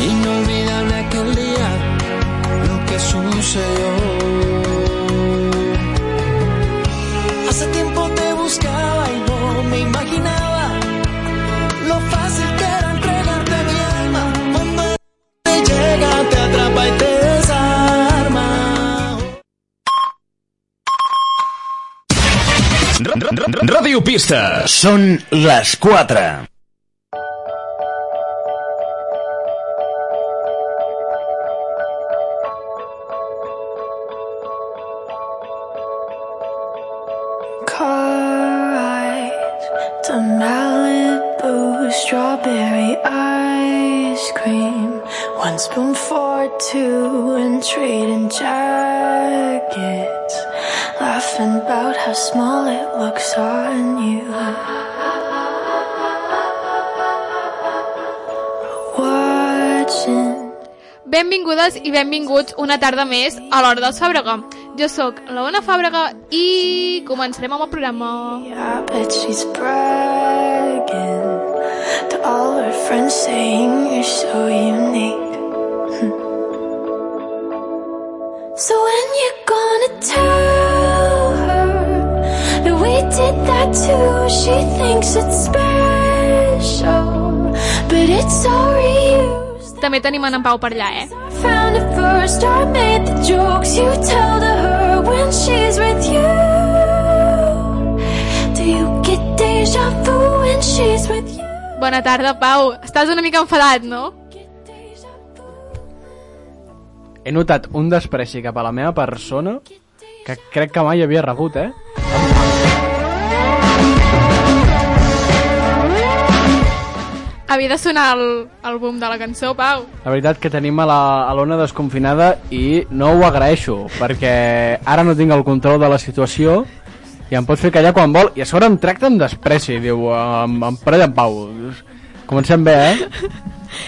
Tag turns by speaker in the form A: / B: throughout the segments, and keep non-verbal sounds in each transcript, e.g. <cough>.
A: Inolvidable aquel día, lo que sucedió. Hace tiempo te buscaba y no me imaginaba lo fácil que era entregarte mi alma. Cuando te llega, te atrapa y te desarma.
B: Radio Pista. Són les 4.
C: Car rides to Malibu, strawberry ice cream, one spoon for two, and trading jackets, laughing about how small it looks on you. Watching.
D: Benvingudes i benvinguts una tarda més a l'Hora dels Fàbrega. Jo sóc la Ona Fàbrega i començarem amb el programa.
C: I bet she's bragging to all her friends saying you're so unique. <laughs> so when you gonna tell her that we did that too? She thinks it's special, but it's all reused.
D: També tenim en, en Pau per allà, eh?
C: Found it first, I made the jokes you tell to her when she's with you. Do you get deja vu when she's with you?
D: Bona tarda, Pau. Estàs una mica enfadat, no?
E: He notat un despreci cap a la meva persona que crec que mai havia rebut, eh?
D: Havia de sonar el, el boom de la cançó, Pau.
E: La veritat que tenim a la- a l'Ona desconfinada i no ho agraeixo, perquè ara no tinc el control de la situació i em pots fer callar quan vol i a sobre em tracta amb despreci, diu, em, em parella en pau. Comencem bé, eh?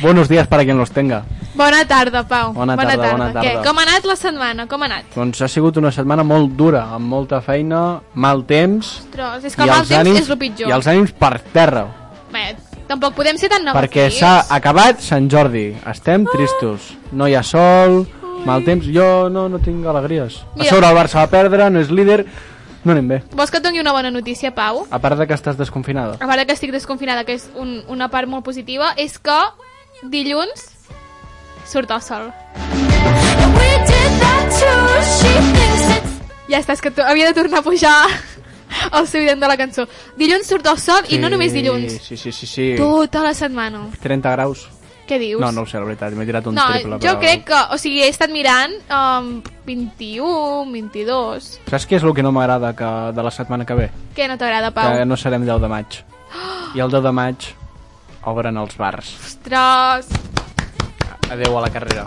E: Buenos días para quien los tenga.
D: Bona tarda, Pau.
E: Bona tarda, bona tarda.
D: Què? Com ha anat la setmana? Com ha anat?
E: Doncs ha sigut una setmana molt dura, amb molta feina, mal temps...
D: Tros, és
E: i
D: que el mal
E: els
D: temps
E: ànims-
D: és el pitjor.
E: I els ànims per terra,
D: Bé, tampoc podem ser tan negatius.
E: perquè s'ha acabat Sant Jordi.
D: Ah.
E: Estem tristos. No hi ha sol, mal temps... Jo no, no tinc alegries.
D: Mira.
E: A sobre el Barça va perdre, no és líder... No anem bé.
D: Vols que et doni una bona notícia, Pau?
E: A part de que estàs desconfinada.
D: A part de que estic desconfinada, que és un, una part molt positiva, és que dilluns surt el sol.
C: We did that too. She thinks it's
D: Ja estàs, que to- havia de tornar a pujar <laughs> el seu ident de la cançó. Dilluns surt el sol i no només dilluns.
E: Sí, sí, sí, sí.
D: Tota la setmana.
E: 30 graus.
D: Què dius?
E: No, no ho sé, la veritat. M'he tirat un
D: No,
E: triple.
D: jo
E: però-
D: crec que... O sigui, he estat mirant um, 21, 22...
E: Saps què és el que no m'agrada que de la setmana que ve?
D: Què no t'agrada, Pau?
E: que no serem 10 de
D: <gasps>
E: maig. I el 10 de maig obren els bars.
D: Ostres...
E: Adeu a la carrera.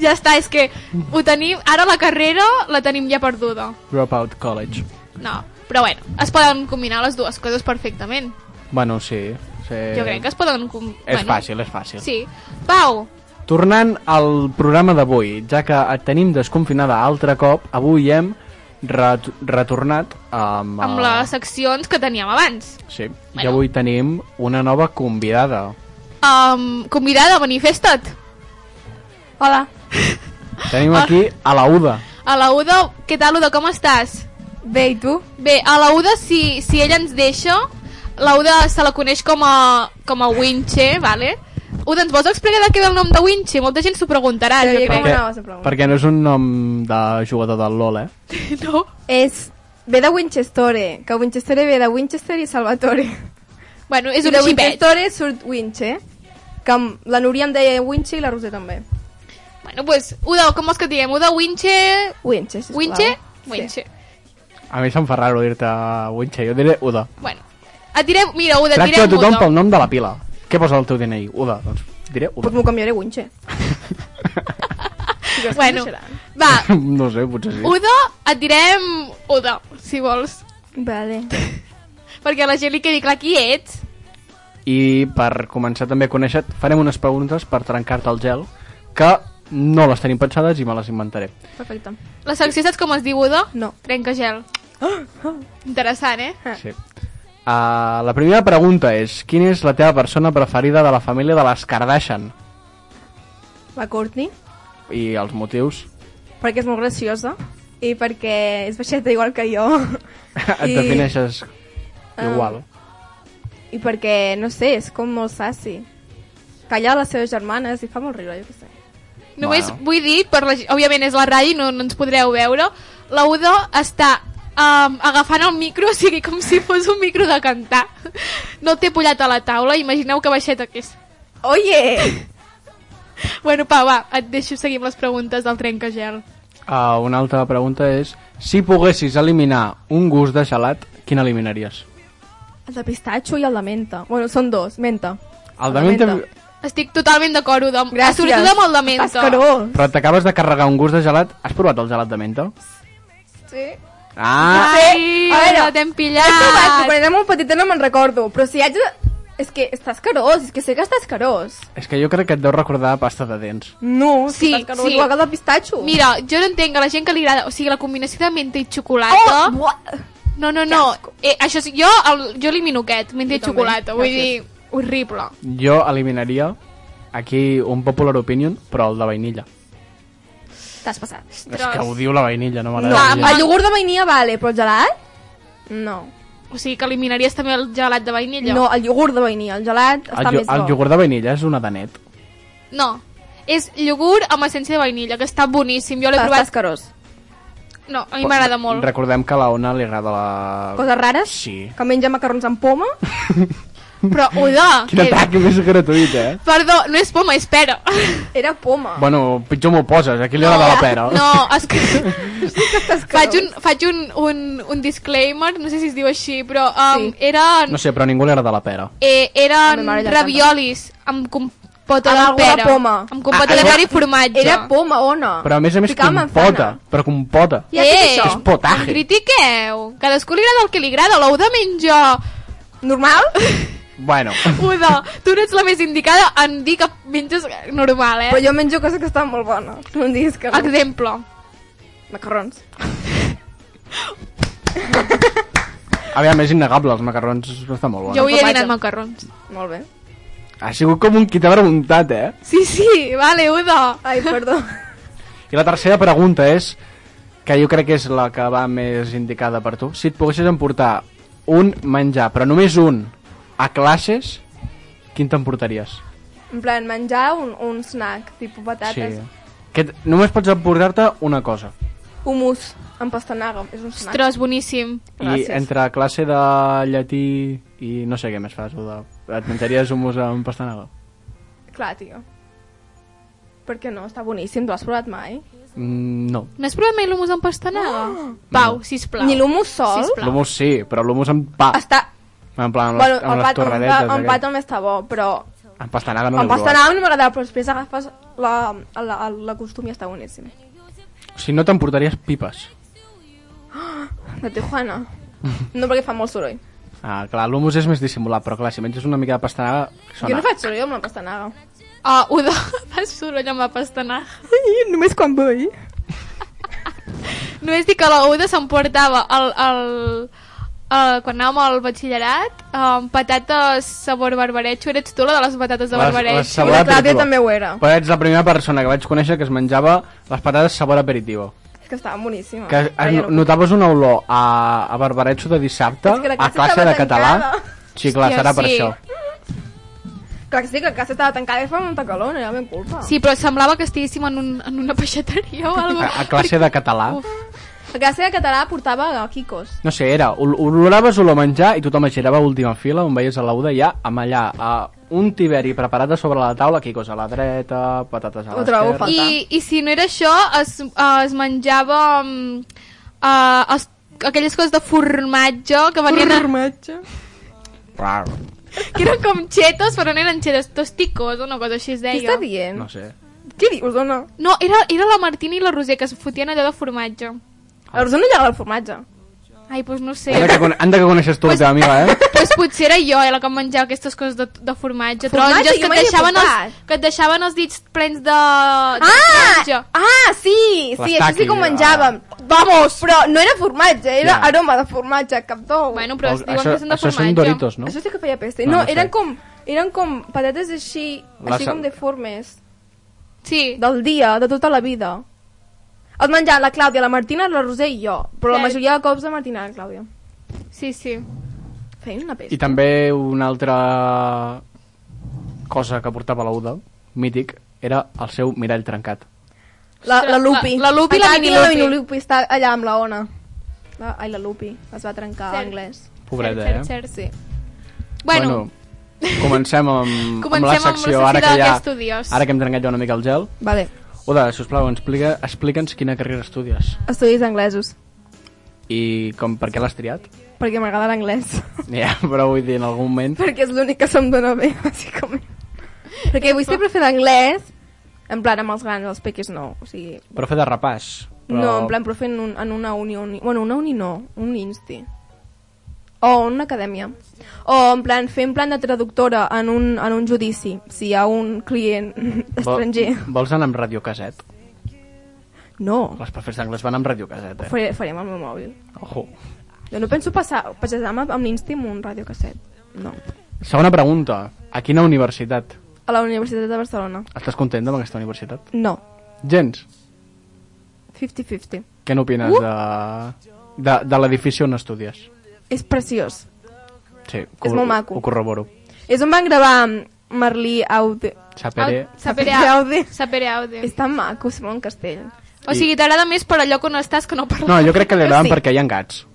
D: Ja està, és que ho tenim... Ara la carrera la tenim ja perduda.
E: Dropout College.
D: No, però bueno, es poden combinar les dues coses perfectament.
E: Bueno, sí. sí.
D: Jo crec que es poden... Com...
E: Eh, És
D: bueno,
E: fàcil, és fàcil.
D: Sí. Pau,
E: Tornant al programa d'avui, ja que et tenim desconfinada altre cop, avui hem ret retornat amb...
D: amb
E: eh,
D: les seccions que teníem abans.
E: Sí, i
D: Bueno.
E: avui tenim una nova convidada.
D: Um, convidada, manifesta't. Hola.
E: Tenim
D: Ah.
E: aquí a la Uda.
D: A la Uda, què tal, Uda, com estàs?
F: Bé, i tu?
D: Bé, a la Uda, si, si ella ens deixa, la Uda se la coneix com a, com a Winche, vale? Uda, ens vols explicar de què ve el nom de Winche? Molta gent s'ho preguntarà,
F: Ja,
D: jo
F: ja,
D: crec.
F: com- anaves a preguntar?
E: perquè no és un nom de jugador del LOL, eh?
D: No?
F: És... Ve de Winchester, que Winchester ve de Winchester i Salvatore.
D: Bueno, és
F: I
D: un
F: de
D: xipet.
F: Winchester surt Winche, que em- la Núria em deia Winche i la Roser també.
D: Bueno, pues, Uda, com vols que et diguem? Uda, Winche...
F: Winche, sisplau.
D: Winche? Winche.
E: A mi se'm fa raro dir-te Winche, jo diré Uda.
D: Bueno, et direm... Mira, Uda, et
E: Tracto a
D: direm
E: tothom
D: Uda. <laughs>
E: pel nom de la pila. Què posa el teu DNI? Uda, doncs diré
F: Doncs
E: Uda.
F: m'ho canviaré a Winche.
D: Bueno, va,
E: <laughs> No sé, potser sí.
D: Uda, et direm Uda, si vols.
F: Vale.
D: Perquè a la gent li quedi clar qui ets.
E: I per començar també a conèixer-te, farem unes preguntes per trencar-te el gel, que no les tenim pensades i me les inventaré.
F: Perfecte.
D: La secció saps com es diu Uda?
F: No.
E: Ah.
D: Trencagel. Interessant, eh?
E: Sí. Uh, la primera pregunta és, quina és la teva persona preferida de la família de les Kardashian?
F: La Courtney,
E: I els <laughs> motius?
F: perquè és molt graciosa i perquè és baixeta igual que jo.
E: Et
F: I-
E: defineixes
F: Ah.
E: igual.
F: I perquè, no sé, és com molt sassy. Calla a les seves germanes i fa molt riure, jo què sé.
D: Només
E: Bueno.
D: bueno. vull dir, per la, ge- òbviament és la ràdio, no, no ens podreu veure, la Udo està um, agafant el micro, <laughs> o sigui, com si fos un micro de cantar. No té pollat a la taula, imagineu que baixeta que és.
F: Oye!
D: Bueno, Pau, va, et deixo seguir amb les preguntes del trencagel.
E: Uh, una altra pregunta és, si poguessis eliminar un gust de gelat, quin eliminaries?
F: <laughs> El de pistatxo i el de menta. Bueno, són dos, menta.
E: El de menta...
D: Estic totalment d'acord, Udom.
F: Gràcies.
D: Sobretot amb el de menta.
F: Pascaró.
E: Però t'acabes de carregar un gust de gelat. Has provat el gelat de menta?
F: Sí.
E: Ah!
D: Ai,
F: Sí, a veure,
D: no t'hem
F: Ja he provat, però
D: pillat.
F: quan era molt petita no me'n recordo. Però si haig de... És que està escarós, és que sé que està escarós.
E: És que jo crec que et deu recordar pasta de dents.
F: No,
D: Sí,
F: sí, està escarós,
D: sí.
F: igual que el de pistatxo.
D: Mira, jo no entenc a la gent que li agrada, o sigui, la combinació de menta i xocolata...
F: Oh, buah.
D: No, no, no. Eh, això sí, jo, el, jo elimino aquest, menta i
F: Jo també,
D: xocolata. Vull dir,
F: gràcies.
D: horrible.
E: Jo eliminaria aquí un popular opinion, però el de vainilla.
F: T'has passat.
E: És que odio la vainilla, no m'agrada.
F: No, ah,
E: la
F: amb
E: vainilla.
F: el iogurt de vainilla vale, però el gelat? No.
D: O sigui, que eliminaries també el gelat de vainilla?
F: No, el iogurt de vainilla, el gelat està
E: el,
F: més
E: iogurt- el
F: bo.
E: iogurt de vainilla és una danet.
D: No. És iogurt amb essència de vainilla, que està boníssim. Jo l'he
F: Està
D: provat...
F: escarós.
D: No, a mi m'agrada molt.
E: Recordem que a la Ona li agrada la...
F: Coses rares?
E: Sí.
F: Que menja macarrons amb poma?
D: Però, Uda...
E: <laughs> Quin atac més gratuït, eh?
D: Perdó, no és poma, és pera.
F: Era poma. <laughs>
E: Bueno, pitjor m'ho poses, aquí li agrada la pera.
D: No, és que...
E: <laughs>
F: Escarós.
D: faig un, faig un, un, un disclaimer, no sé si es diu així, però um,
F: Sí.
D: eren,
E: No sé, però a ningú li agrada la pera.
D: eh,
F: A mi
D: eren
F: m'agrada
D: raviolis amb compota
F: Amb
D: de
F: alguna
D: pera.
F: poma.
D: Amb compota
E: Ah,
D: de
E: era-
D: pera i formatge.
F: Era poma, o no?
E: Però a més a més
F: Ficava
E: compota,
F: manzana.
E: però compota.
F: Ja sé què és això.
E: És potaje.
D: No Eh? critiqueu. Cadascú li agrada el que li agrada. L'ou de menja...
E: <laughs>
F: Normal?
D: <laughs>
E: Bueno,
D: Uda, tu no ets la més indicada en dir que menges normal, eh?
F: Però jo menjo coses que estan molt bones. No em diguis que... no.
D: Exemple.
F: Macarrons.
E: aviam, és innegable, els macarrons estan
D: Jo
E: molt bons.
D: avui he
F: Formatge.
D: dinat macarrons.
F: Molt bé.
E: Ha sigut com un qui t'ha preguntat, eh?
D: Sí, sí, vale, Uda.
F: Ai, perdó.
E: I la tercera pregunta és, que jo crec que és la que va més indicada per tu. Si et poguessis emportar un menjar, però només un, a classes, quin t'emportaries?
F: En plan, menjar un, un snack, tipus patates. Sí.
E: Que et- només pots emportar-te una cosa.
F: Humus amb pastanaga, és un snack.
D: Ostres, boníssim.
E: I
F: Gràcies.
E: entre classe de llatí i no sé què més fas, o de... et menjaries hummus amb pastanaga?
F: Clar, tio. Per què no? Està boníssim, tu l'has provat mai?
E: Mm, no.
D: No has provat mai l'humus amb pastanaga? Pau, sisplau.
F: Ni l'humus sol.
D: Sisplau. Plau.
E: L'humus sí, però l'humus amb pa.
F: Està...
E: En plan, amb,
F: bueno,
E: les, amb
F: el
E: les
F: pa, amb,
E: torradetes.
F: pa, amb
E: aquest.
F: pa també està bo, però...
E: Amb pastanaga no
F: No
E: l'he
F: amb pastanaga no m'agrada, però després agafes la, la, la costum i està boníssim.
E: provat. Si no t'emportaries pipes.
F: De
E: <laughs>
F: Tijuana. No perquè fa molt soroll.
E: Ah, clar, l'humus és més dissimulat, però clar, si menges una mica de pastanaga, sona.
F: Jo no faig soroll amb la pastanaga.
D: Ah, <laughs> Uda, fas soroll amb la pastanaga.
F: Només quan vull.
D: Només dic que la Uda s'emportava el, el, el, quan anàvem al batxillerat um, patates sabor barbarejo eres tu la de les patates de
E: Les-
D: barbarejo
E: les
F: I
E: sabor-
F: la
E: Sabor
F: Clàudia
E: aperitivo.
F: també ho era.
E: Però ets la primera persona que vaig conèixer que es menjava les patates sabor aperitivo.
F: És que estava boníssima.
E: Que
F: Ara ja
E: es, notaves una olor a, a barbaretxo de dissabte,
F: És que la
E: a
F: classe
E: classe
F: estava
E: de català.
F: tancada.
E: Sí, clar,
D: Hòstia,
E: serà per
D: sí.
E: això.
F: Clar que sí, que la casa estava tancada i fa molta calor, no era ben culpa.
D: sí, però semblava que estiguéssim en, un, en una peixateria o alguna
E: A, a classe de català.
D: Uf.
F: La classe de català portava quicos.
E: No sé, era, ol- oloraves olor a menjar i tothom es girava a última fila on veies a l'Auda ja amb allà a un tiberi preparat a sobre la taula, aquí cosa a la dreta, patates a
F: Ho trobo
E: l'esquerra...
F: faltant.
D: I, I si no era això, es, es menjava um, uh, els, aquelles coses de formatge que venien a,
F: Formatge.
E: I...
D: <laughs> que eren com xetos, però no eren xetos, tosticos o una cosa així es
F: Què
D: deia.
F: està dient?
E: No sé.
F: Què dius, dona?
D: No, era, era la Martina i la Roser que es fotien allò de formatge.
E: Ah.
F: A la Rosana li agrada el formatge.
D: Ai, doncs no sé.
E: Anda que, con- anda que coneixes tu la
D: Pues-
E: teva amiga,
F: <laughs>
E: eh?
D: pues potser era jo eh, la que em menjava aquestes coses de, de formatge,
F: Formatge?
D: taronges,
F: Jo
D: que et,
F: mai he
D: deixaven
F: portat.
D: els, que et deixaven els dits plens de, de taronja.
F: Ah! Ah, sí! Sí,
E: L'estaqui,
F: això sí que ho menjàvem. Vamos! Però no era formatge, era
E: Ja.
F: aroma de formatge, cap d'ou.
D: Bueno, però es diuen
E: això,
D: que són de
E: això són
D: formatge.
E: doritos, no?
F: Això sí que feia peste.
E: No,
F: No,
E: no sé.
F: eren com... Eren com patates així,
E: La
F: així
E: sal-
F: com deformes.
D: Sí.
F: Del dia, de tota la vida. Els menjàvem la Clàudia, la Martina, la Roser i jo. Però
D: Sí.
F: la majoria de cops la Martina i la Clàudia.
D: Sí, sí.
F: Feien una
E: I
F: pesta.
E: també una altra cosa que portava la Uda, mític, era el seu mirall trencat.
F: La, la
D: Ostres,
F: Lupi.
D: la- la Lupi i la
F: Encara
D: Mini
F: tinc La
D: Lupi.
F: mini Lupi està allà amb la Ona. La, ai, la Lupi. Es va trencar
D: Cert.
F: anglès.
E: Pobreta,
D: cert,
E: eh?
D: cert, cert.
F: Sí.
D: Bueno, <laughs>
E: comencem amb, amb la
D: Comencem amb la
E: secció,
D: secció
E: ara que,
D: de
E: ja,
D: què estudies.
E: ara que hem trencat ja una mica el gel.
F: Vale.
E: Uda, sisplau, explica, explica'ns quina carrera estudies
F: Estudis anglesos.
E: i com, per què l'has triat. <laughs>
F: Perquè m'agrada l'anglès. <laughs>
E: Ja, però vull dir, en algun moment...
F: perquè és l'únic que se'm dona bé, bàsicament. perquè vull sempre fer d'anglès, en plan amb els grans, els pequis no, o sigui...
E: Però fer de repàs. Però...
F: Però... No, en plan, però fent un, en una uni, uni... Bueno, una uni no, un insti. O una acadèmia. O en plan, fer en plan de traductora en un, en un judici, si hi ha un client <laughs>
E: Vol-
F: estranger.
E: Vols anar amb Radio Caset?
F: No,
E: Les perfils d'anglès van amb Radio Caset,
F: ho
E: eh?
F: faré, faré amb el meu mòbil.
E: Ojo.
F: Jo no penso passar, passar amb, amb l'insti amb un radiocasset. No.
E: Segona pregunta. A quina universitat?
F: A la Universitat de Barcelona.
E: Estàs content amb aquesta universitat?
F: No.
E: Gens.
F: 50-50.
E: Què n'opines
F: Uh!
E: de, de, de l'edifici on estudies?
F: És preciós.
E: Sí,
F: molt maco.
E: Ho corroboro.
F: És on van gravar Merlí Aude.
E: Sapere...
D: Au- sapere aude. Sapere aude.
F: És tan maco, sembla un castell.
D: O sigui, t'agrada més per allò que no estàs que no per...
E: No, jo crec que li agraden
F: Sí.
E: sí. perquè hi ha gats.
F: <gasps>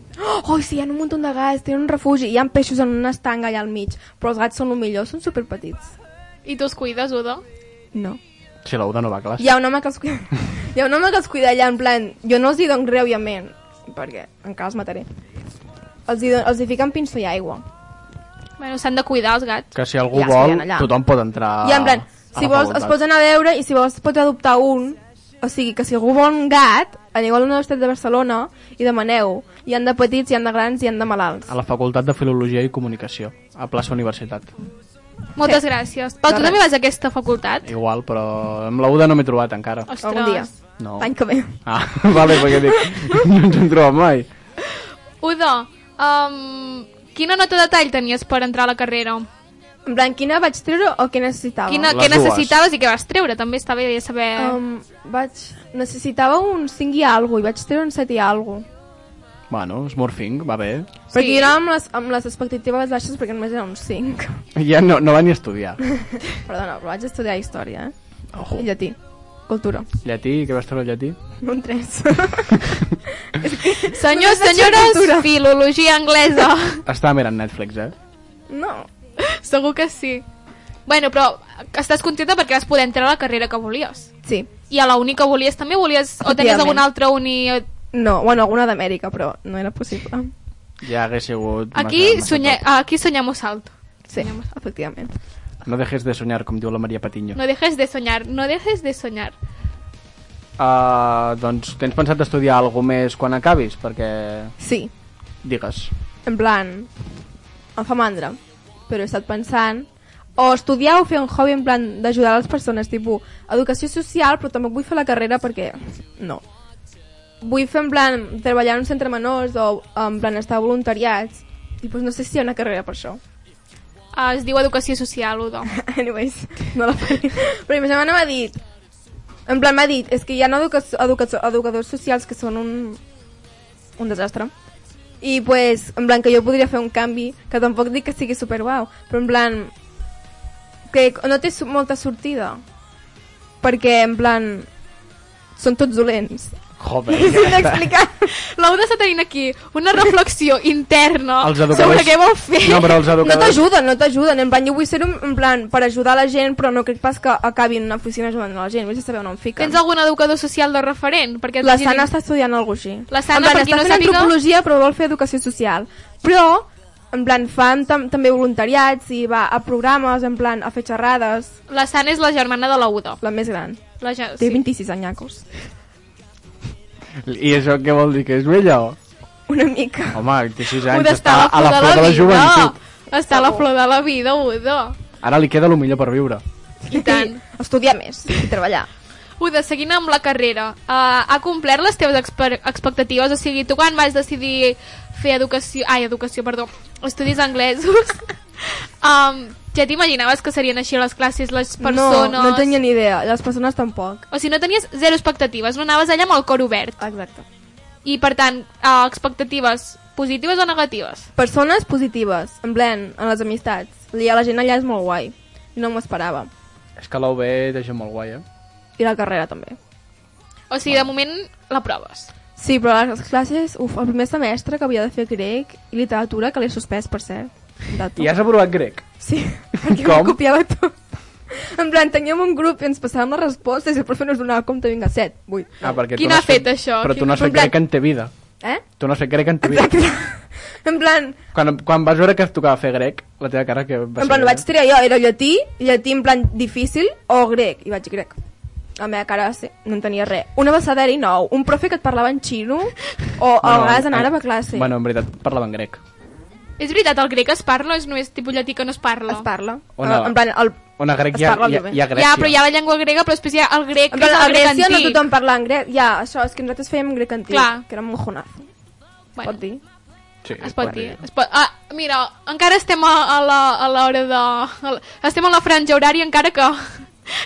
F: Oh, sí, hi ha un munt de gats, tenen un refugi, hi ha peixos en una estanga allà al mig, però els gats són el millor, són superpetits.
D: I tu els cuides, Udo?
F: No.
E: Si la Uda no va a classe.
F: Hi ha un home que els cuida, <laughs> hi ha un home que els cuida allà, en plan, jo no els hi dono greu, òbviament, perquè encara els mataré. Els hi, don, els hi fiquen pinso i aigua.
D: Bueno, s'han de cuidar els gats.
E: Que si algú
F: Ja, sí,
E: vol,
F: hi ha allà.
E: tothom pot entrar
F: I en plan,
E: a
F: si
E: la
F: vols, els
E: facultat.
F: pots anar a veure i si vols pots adoptar un. O sigui, que si algú vol un gat, aneu a la Universitat de Barcelona i demaneu. Hi han de petits, hi han de grans, hi han de malalts.
E: A la Facultat de Filologia i Comunicació, a plaça Universitat.
D: Moltes gràcies. Però tu
F: res.
D: també vas a aquesta facultat?
E: Igual, però amb la Uda no m'he trobat encara.
D: Ostres.
F: Algun dia.
E: No.
F: L'any que ve.
E: Ah, <laughs> vale, perquè dic, no ens hem trobat mai.
D: Udo, um, quina nota de tall tenies per entrar a la carrera?
F: En plan, quina vaig treure o què necessitava?
D: Quina,
E: Ah, les
D: què
E: dues.
D: necessitaves i què vas treure? També està bé saber... Um,
F: Um, vaig... Necessitava un 5 i algo i vaig treure un 7 i algo.
E: Bueno, Smurfing, va bé.
F: Sí. Perquè jo anava amb les, amb les expectatives baixes perquè només era un 5.
E: Ja no, no va ni estudiar.
F: <laughs> Perdona, però vaig estudiar història, eh?
E: Ojo.
F: I llatí. Cultura.
E: Llatí, què vas treure al llatí?
F: Un
D: <laughs>
F: <laughs> 3.
D: Senyors,
F: només vaig fer
D: senyores,
F: cultura.
D: filologia anglesa.
E: Estava mirant Netflix, eh?
F: no.
D: <laughs> Segur que sí. Bueno, però estàs contenta perquè vas poder entrar a la carrera que volies.
F: Sí.
D: I a la uni que volies també volies... O tenies
F: Efectivament.
D: alguna altra uni... eh,
F: No, bueno, alguna d'Amèrica, però no era possible.
E: Ja hagués sigut... massa-
D: Aquí,
E: massa
D: soñe, aquí soñamos alto.
F: Sí, efectivament.
E: top. No dejes de soñar, com diu la Maria Patiño.
D: No dejes de soñar, no dejes de soñar.
E: Uh, doncs tens pensat estudiar alguna més quan acabis? Perquè,
F: Sí,
E: digues,
F: en plan, em fa mandra, però he estat pensant o estudiar o fer un hobby en plan d'ajudar les persones, tipus educació social, però tampoc vull fer la carrera perquè no. Vull fer en plan treballar en un centre menors o en plan estar a voluntariats, tipus no sé si hi ha una carrera per això.
D: Ah, Es diu educació social, <laughs> Udo.
F: <laughs> Anyways, no la faré. Però mi germana m'ha dit... En plan, m'ha dit, és que hi ha educa educa educadors socials que són un, un desastre. I, pues, en plan, que jo podria fer un canvi, que tampoc dic que sigui super guau, però en plan, que no té su- molta sortida. Perquè, en plan, són tots dolents. <laughs>
E: Joder,
F: Sí, t'he explicat.
D: La Uda està tenint aquí una reflexió interna
E: Els educadors-
D: sobre què vol fer.
E: No, però els
F: No
E: educadors...
F: t'ajuden, no t'ajuden. En plan, jo vull ser en plan, per ajudar la gent, però no crec pas que acabi en una oficina ajudant la gent. Vés a saber on em fiquen.
D: Tens algun educador social de referent? Perquè et
F: La
D: vagin-
F: Sana està estudiant alguna cosa així.
D: La Sana,
F: en plan,
D: per qui
F: està
D: no
F: fent
D: sàpiga-
F: antropologia, però vol fer educació social. Però, en plan, fan tam també voluntariats i va a programes, en plan, a fer xerrades.
D: La Sana és la germana de la Uda.
F: La més gran.
D: La ja...
F: Té
D: sí.
F: 26 anyacos. <laughs>
E: I això què vol dir? Que és vella o...?
F: una mica.
E: Home, 26
D: Udo
E: anys,
D: està
E: està a la flor de la joventut.
D: Està a la flor de la vida, Udo.
E: Ara li queda el millor per viure.
D: I tant.
F: Estudiar més i treballar.
D: Uda, seguint amb la carrera, uh, ha complert les teves exper- expectatives? O sigui, tu quan vas decidir fer educació... Ai, educació, perdó. Estudis anglesos. <laughs> um, ja t'imaginaves que serien així les classes, les persones...
F: No, no tenia ni idea. Les persones tampoc.
D: O sigui, no tenies zero expectatives, no anaves allà amb el cor obert.
F: Exacte.
D: I, per tant, uh, expectatives positives o negatives?
F: Persones positives, en plan, en les amistats. I a la gent allà és molt guai. No m'ho esperava.
E: És que l'UB deixa molt guai, eh?
F: I la carrera també.
D: O sigui, de moment la proves.
F: Sí, però a les classes, uf, el primer semestre que havia de fer grec i literatura, que l'he suspès, per cert. Dato.
E: I has aprovat grec? <laughs>
F: Sí, perquè
E: Com?
F: Com? copiava tot. En plan, teníem un grup i ens passàvem les respostes i el profe no es donava compte, vinga, 7, 8.
E: Ah, perquè tu
D: Qui
E: no
D: n'ha
E: has fet,
D: fet, això?
E: Però tu
D: Qui-
E: no has fet
F: en plan-
E: grec en te vida.
F: Eh?
E: Tu no has fet grec
D: <laughs>
E: en te vida.
F: Exacte. En plan,
E: Quan, quan vas veure que et tocava fer grec, la teva cara que va
F: en plan,
E: ser... eh?
F: ho vaig triar jo, era llatí, llatí en plan difícil o grec, i vaig grec. La meva cara va ser, no entenia res. Un abecedari nou, un profe que et parlava en xino o a vegades en àrab a classe.
E: eh, Bueno, en veritat, parlava en grec.
D: És veritat, el grec es parla o és només tipus llatí que no es parla?
F: es parla.
E: O no.
F: En plan, el,
E: On a grec
F: Es
E: hi ha,
F: parla
E: hi ha,
F: molt bé.
E: hi ha Grècia.
D: Ja, però hi ha la llengua grega, però després hi ha el grec,
F: en
D: que és
F: plan,
D: el
F: a
D: grec
F: Grècia no
D: antic.
F: tothom parla en grec. Ja, això, és que nosaltres fèiem grec antic,
D: Clar.
F: que era un mojonazo. Bueno. Pot dir?
E: Sí,
D: Es pot dir. Es pot... Ah, mira, encara estem a, a la- a l'hora de... A la... Estem a la franja horària encara que, <laughs>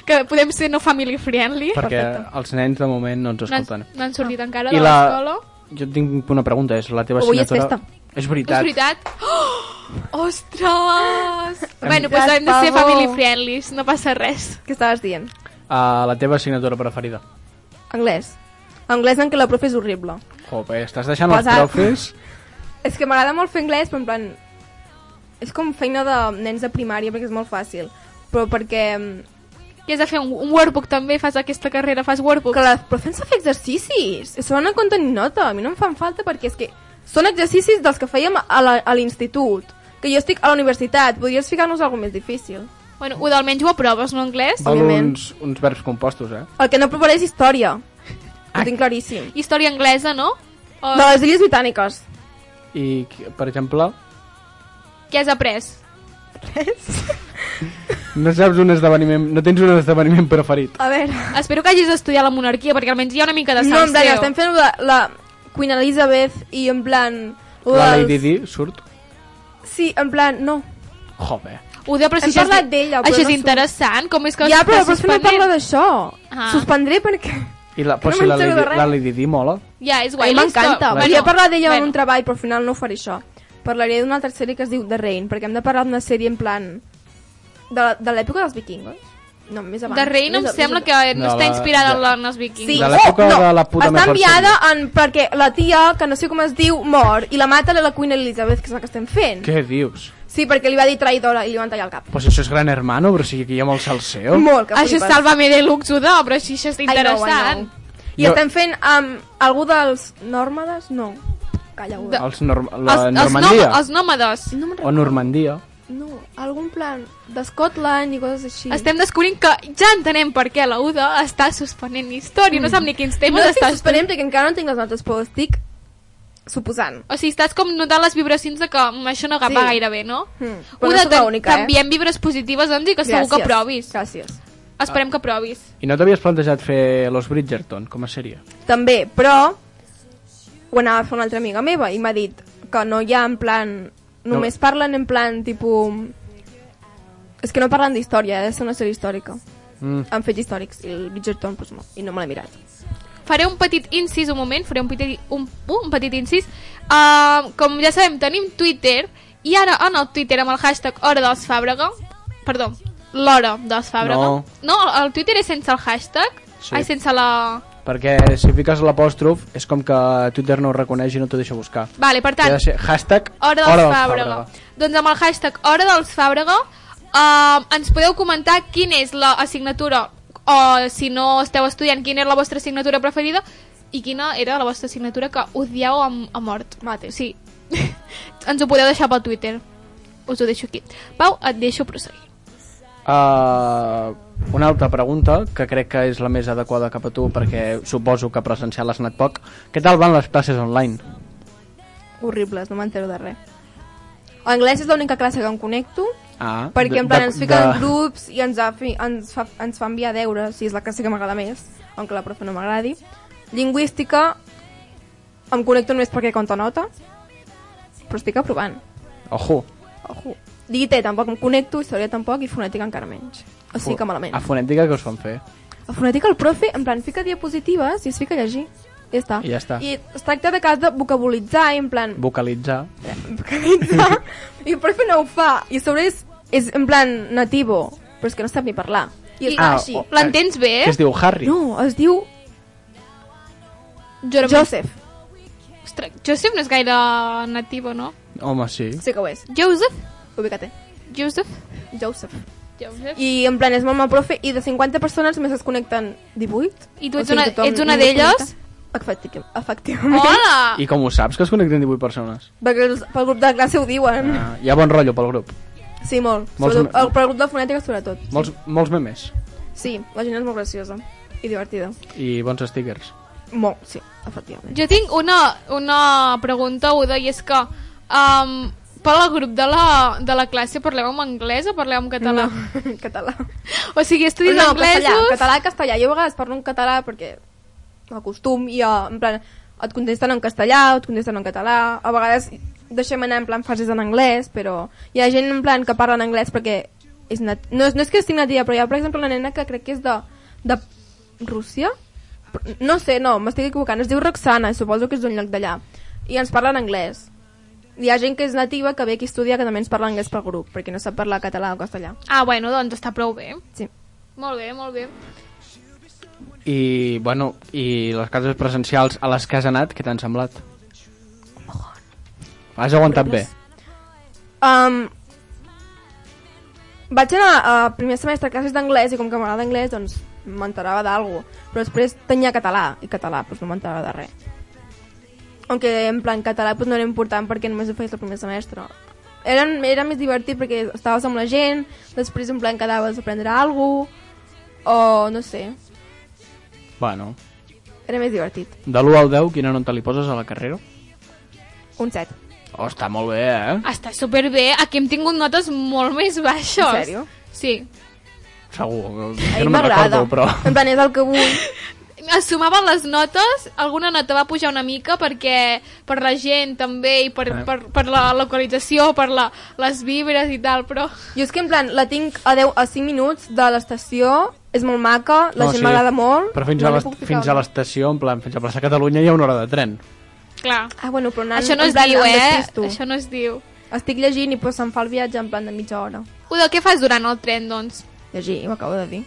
D: que podem ser no family friendly.
E: Perquè
F: Perfecte.
E: els nens de moment no ens
D: No han,
E: escolten.
D: no han sortit encara
E: I
D: de
E: la...
D: l'escola.
E: Jo tinc una pregunta, és la teva
F: Avui és
E: assignatura... És
D: És
E: veritat.
D: veritat? Oh, ostres!
F: Em
D: bueno, doncs
F: diràs,
D: hem de ser
F: Pablo.
D: family friendly, no passa res.
F: Què estaves dient?
E: Uh, la teva assignatura preferida.
F: Anglès. Anglès en què la profe és horrible.
E: Jope, estàs deixant
F: Pesat.
E: els profes...
F: És que m'agrada molt fer anglès, però en plan... És com feina de nens de primària, perquè és molt fàcil. Però perquè... mm,
D: I has de fer un, un workbook també, fas aquesta carrera, fas workbook.
F: Que la profe ens fa fer exercicis. I Són en compte ni nota. A mi no em fan falta perquè és que... Són exercicis dels que fèiem a la- a l'institut. Que jo estic a la universitat. Podries ficar-nos alguna més difícil.
D: Bueno, un almenys ho aproves, no, anglès?
E: Vol
F: Òbviament.
E: uns, uns verbs compostos, eh?
F: El que no provaré és història. Ho tinc claríssim.
D: Història anglesa, no? O
F: De les Illes Britàniques.
E: I, qui- per exemple,
D: què has après?
E: no saps un esdeveniment... No tens un esdeveniment preferit.
F: A veure...
D: Espero que hagis d'estudiar la monarquia, perquè almenys hi ha una mica de
F: No,
D: sang
F: en plan,
D: seu.
F: estem fent la, la Queen Elizabeth i en plan...
E: La
F: dels-
E: Lady Di surt...
F: Sí, en plan, no.
E: Jope.
D: Uda, però si
F: Hem
D: això és-
F: parlat d'ella, però
D: Això és
F: no surt.
D: interessant, com és que...
F: ja,
D: que
F: però la profe no
D: suspenen?
F: parla d'això.
D: Ah.
F: Suspendré perquè...
E: I la, però
F: no
E: si la
F: m'entero
E: Lady,
F: de res.
E: la Lady Di mola.
D: Ja, és
F: A
D: guai.
F: mi m'encanta.
E: Bueno,
F: Volia parlar d'ella
D: bueno.
F: en un treball, però al final no faré això. Parlaré d'una altra sèrie que es diu The Rain, perquè hem de parlar d'una sèrie en plan... De, la- de l'època dels vikingos. No, més abans.
D: De rei no em
F: Més a-
D: sembla
F: més a-
D: que eh, no
E: De
D: està
E: la-
D: inspirada
E: de-
D: en les vikings.
F: Sí.
E: De l'època
F: no,
E: de la puta
F: està
E: mejor
F: enviada en, perquè la tia, que no sé com es diu, mor i la mata la Queen Elizabeth, que és la que estem fent.
E: Què dius?
F: Sí, perquè li va dir traïdora i li van tallar el cap.
E: Pues això és Gran Hermano, però si aquí hi ha molt salseo.
F: Molt, que
D: Això és
F: flipes.
D: Sálvame de Lux, Uda, però si això és
F: I know, I
D: interessant.
F: know. I
E: Jo-
F: estem fent amb algú dels nòrmades? No. Calla, de...
E: Els norm la
D: Els, els,
E: Normandia.
D: nom- els nòmades.
F: No me'n
E: O
F: recordo.
E: Normandia.
F: No, algun plan d'Escotland i coses així.
D: Estem descobrint que ja entenem per què la Uda està suspenent història. No sap ni quins
F: No
D: temes
F: estic
D: està
F: esperant perquè encara no tinc les notes, però estic suposant.
D: O sigui, estàs com notant les vibracions de que mm, això no agafa
F: Sí.
D: gaire bé, no?
F: Mm. Però no
D: Una,
F: sóc la única, eh?
D: T'enviem vibres positives, doncs, i que segur que provis.
F: Gràcies. Ah.
D: Esperem que provis.
E: I no t'havies plantejat fer Los Bridgerton com a sèrie?
F: També, però ho anava a fer una altra amiga meva i m'ha dit que no hi ha en plan... Només parlen en plan tipus... És que no parlen d'història, ha de ser una sèrie històrica.
E: Mm.
F: Han fet històrics i el Bridgerton pues no, i no me l'he mirat.
D: Faré un petit incís, un moment, faré un petit, un, uh, un petit incís. Uh, com ja sabem, tenim Twitter, i ara en el Twitter amb el hashtag Hora dels Fàbrega, perdó, l'Hora dels Fàbrega.
E: No.
D: no, el Twitter és sense el hashtag,
E: Sí.
D: ai, sense la...
E: Perquè si fiques l'apòstrof és com que Twitter no ho reconeix i no t'ho deixa buscar.
D: Vale, per
E: Ha
D: tant,
E: de ser hashtag
D: Hora dels, Fàbrega. Doncs amb el hashtag Hora dels Fàbrega eh, ens podeu comentar quina és la assignatura o si no esteu estudiant quina era la vostra assignatura preferida i quina era la vostra assignatura que odieu a, a mort.
F: Mate.
D: Sí. <laughs> ens ho podeu deixar pel Twitter. Us ho deixo aquí. Pau, et deixo proseguir.
E: Uh, una altra pregunta, que crec que és la més adequada cap a tu, perquè suposo que presencial has anat poc. Què tal van les classes online?
F: horribles, no m'entero de res. Anglès és l'única classe que em connecto,
E: Ah,
F: perquè en
E: de-
F: plan
E: de-
F: ens fica en
E: de-
F: grups i ens, ha, fi- ens, fa, ens fa enviar deures, si és la classe que m'agrada més, aunque la profe no m'agradi. Lingüística, em connecto només perquè conta nota, però estic aprovant.
E: Ojo.
F: Ojo. Digité tampoc em connecto, història tampoc i fonètica encara menys. O sigui que malament.
E: A fonètica que us fan fer.
F: A fonètica el profe, en plan, fica diapositives i es fica a llegir. I ja està.
E: I ja està.
F: I es tracta de cas de vocabolitzar, i en plan,
E: Vocalitzar.
F: Eh? vocalitzar, i el profe no ho fa. I a sobre és, és en plan nativo, però és que no sap ni parlar.
D: I-
F: I, està
E: Ah,
F: així.
E: o-
D: L'entens bé? eh?
E: Que es diu Harry.
F: No, es diu
D: Joseph.
F: Joseph.
D: Ostres, Joseph no és gaire nativo, no?
E: Home, sí.
F: Sí que ho és.
D: Joseph?
F: Ubica't.
D: Joseph?
F: Joseph.
D: Joseph? I,
F: I en plan, és molt mal profe, i de 50 persones només es connecten 18.
D: I tu ets
F: O sigui,
D: una-
F: tothom
D: ets una
F: només
D: d'elles?
F: connecta- Efecti- Efectivament. Ah.
D: Hola!
E: I com ho saps, que es connecten 18 persones?
F: Perquè els, pel grup de classe ho diuen.
E: Ah, hi ha bon rotllo pel grup.
F: Mm. Sí, molt.
E: Molts
F: Sobretot,
E: me-
F: el, pel grup de fonètica, sobretot.
E: Molts, molts memes.
F: Sí, la gent és molt graciosa i divertida.
E: I bons stickers.
F: Molt, sí, efectivament.
D: Jo tinc una, una pregunta, Uda, i és que um, per al grup de la, de la classe parleu en anglès o parleu en català? No.
F: No, <laughs> català.
D: O sigui, estudis
F: no,
D: anglesos...
F: Castellà, català, castellà. Jo a vegades parlo en català perquè m'acostum i eh, en plan et contesten en castellà, et contesten en català. A vegades deixem anar en plan frases en anglès, però hi ha gent en plan que parla en anglès perquè és nat... no, és, no és que estigui nativa, però hi ha, per exemple, una nena que crec que és de, de Rússia? Però- No sé, no, m'estic equivocant. Es diu Roxana, i suposo que és d'un lloc d'allà. I ens parla en anglès. Hi ha gent que és nativa, que ve aquí a estudiar, que també ens parla anglès pel grup, perquè no sap parlar català o castellà.
D: Ah, bueno, doncs està prou bé.
F: Sí.
D: Molt bé, molt bé.
E: I, bueno, i les cases presencials a les que has anat, què t'han semblat? Has aguantat bé.
F: Um, vaig anar a primer semestre a classes d'anglès i com que m'agrada anglès doncs m'enterava d'algo però després tenia català i català doncs no m'enterava de res aunque en plan català doncs no era important perquè només ho feies el primer semestre era, era més divertit perquè estaves amb la gent després en plan quedaves a aprendre alguna o no sé
E: Bueno,
F: era més divertit
E: de l'1 al 10, quina nota li poses a la carrera?
F: un set
E: Oh, està molt bé, eh?
D: Està superbé. Aquí hem tingut notes molt més baixes.
F: En sèrio?
D: Sí.
E: Segur. que
F: a mi
E: no me'n
F: m'agrada
E: recordo, però...
F: en plan és el que vull
D: es sumaven les notes, alguna nota va pujar una mica perquè per la gent també i per, per, per la localització, per la, les vibres i tal, però...
F: Jo és que en plan, la tinc a, 10, a 5 minuts de l'estació, és molt maca, la no, gent sí. m'agrada molt.
E: Però fins,
F: no
E: a
F: li
E: les-
F: puc ficar
E: fins a
F: una.
E: l'estació, en plan, fins a plaça Catalunya hi ha una hora de tren.
D: Clar.
F: Ah, bueno, però anant,
D: Això no
F: en
D: es
F: plan,
D: diu,
F: em
D: eh?
F: despisto.
D: Això no es diu.
F: Estic llegint i pues, se'm fa el viatge en plan de mitja hora.
D: Udo, què fas durant el tren, doncs?
F: Llegir, ho acabo de dir.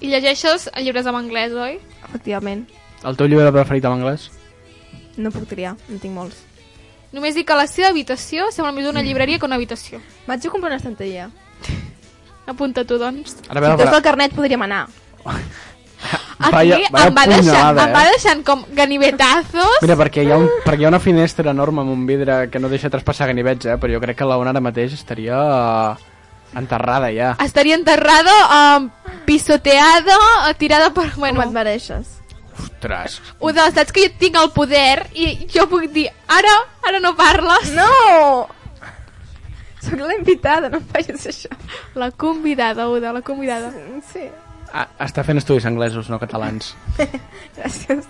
D: I llegeixes llibres en anglès, oi?
F: Efectivament,
E: El teu llibre preferit en anglès?
F: no puc triar, no tinc molts.
D: Només dic que la seva habitació sembla més una llibreria que una habitació.
F: Vaig a comprar una estanteria.
D: Apunta tu, doncs.
E: Ara
F: Si
E: veure,
F: fos el carnet podríem anar.
D: Aquí
E: vaya
D: em, va deixant,
E: punyalada,
D: em va
E: eh?
D: deixant com ganivetazos.
E: Mira, perquè hi, ha un, perquè hi ha una finestra enorme amb un vidre que no deixa traspassar ganivets, eh? però jo crec que la ona ara mateix estaria eh, enterrada ja.
D: Estaria enterrada, eh, pisoteada, eh, tirada per...
F: Com
D: Bueno,
F: et mereixes?
E: Ostres!
D: Uda, saps que jo tinc el poder i jo puc dir, ara, ara no parles.
F: No! Sóc la invitada, no em facis això.
D: La convidada, Uda, la convidada.
F: Sí,
E: Ah, està fent estudis anglesos, no catalans.
F: gràcies.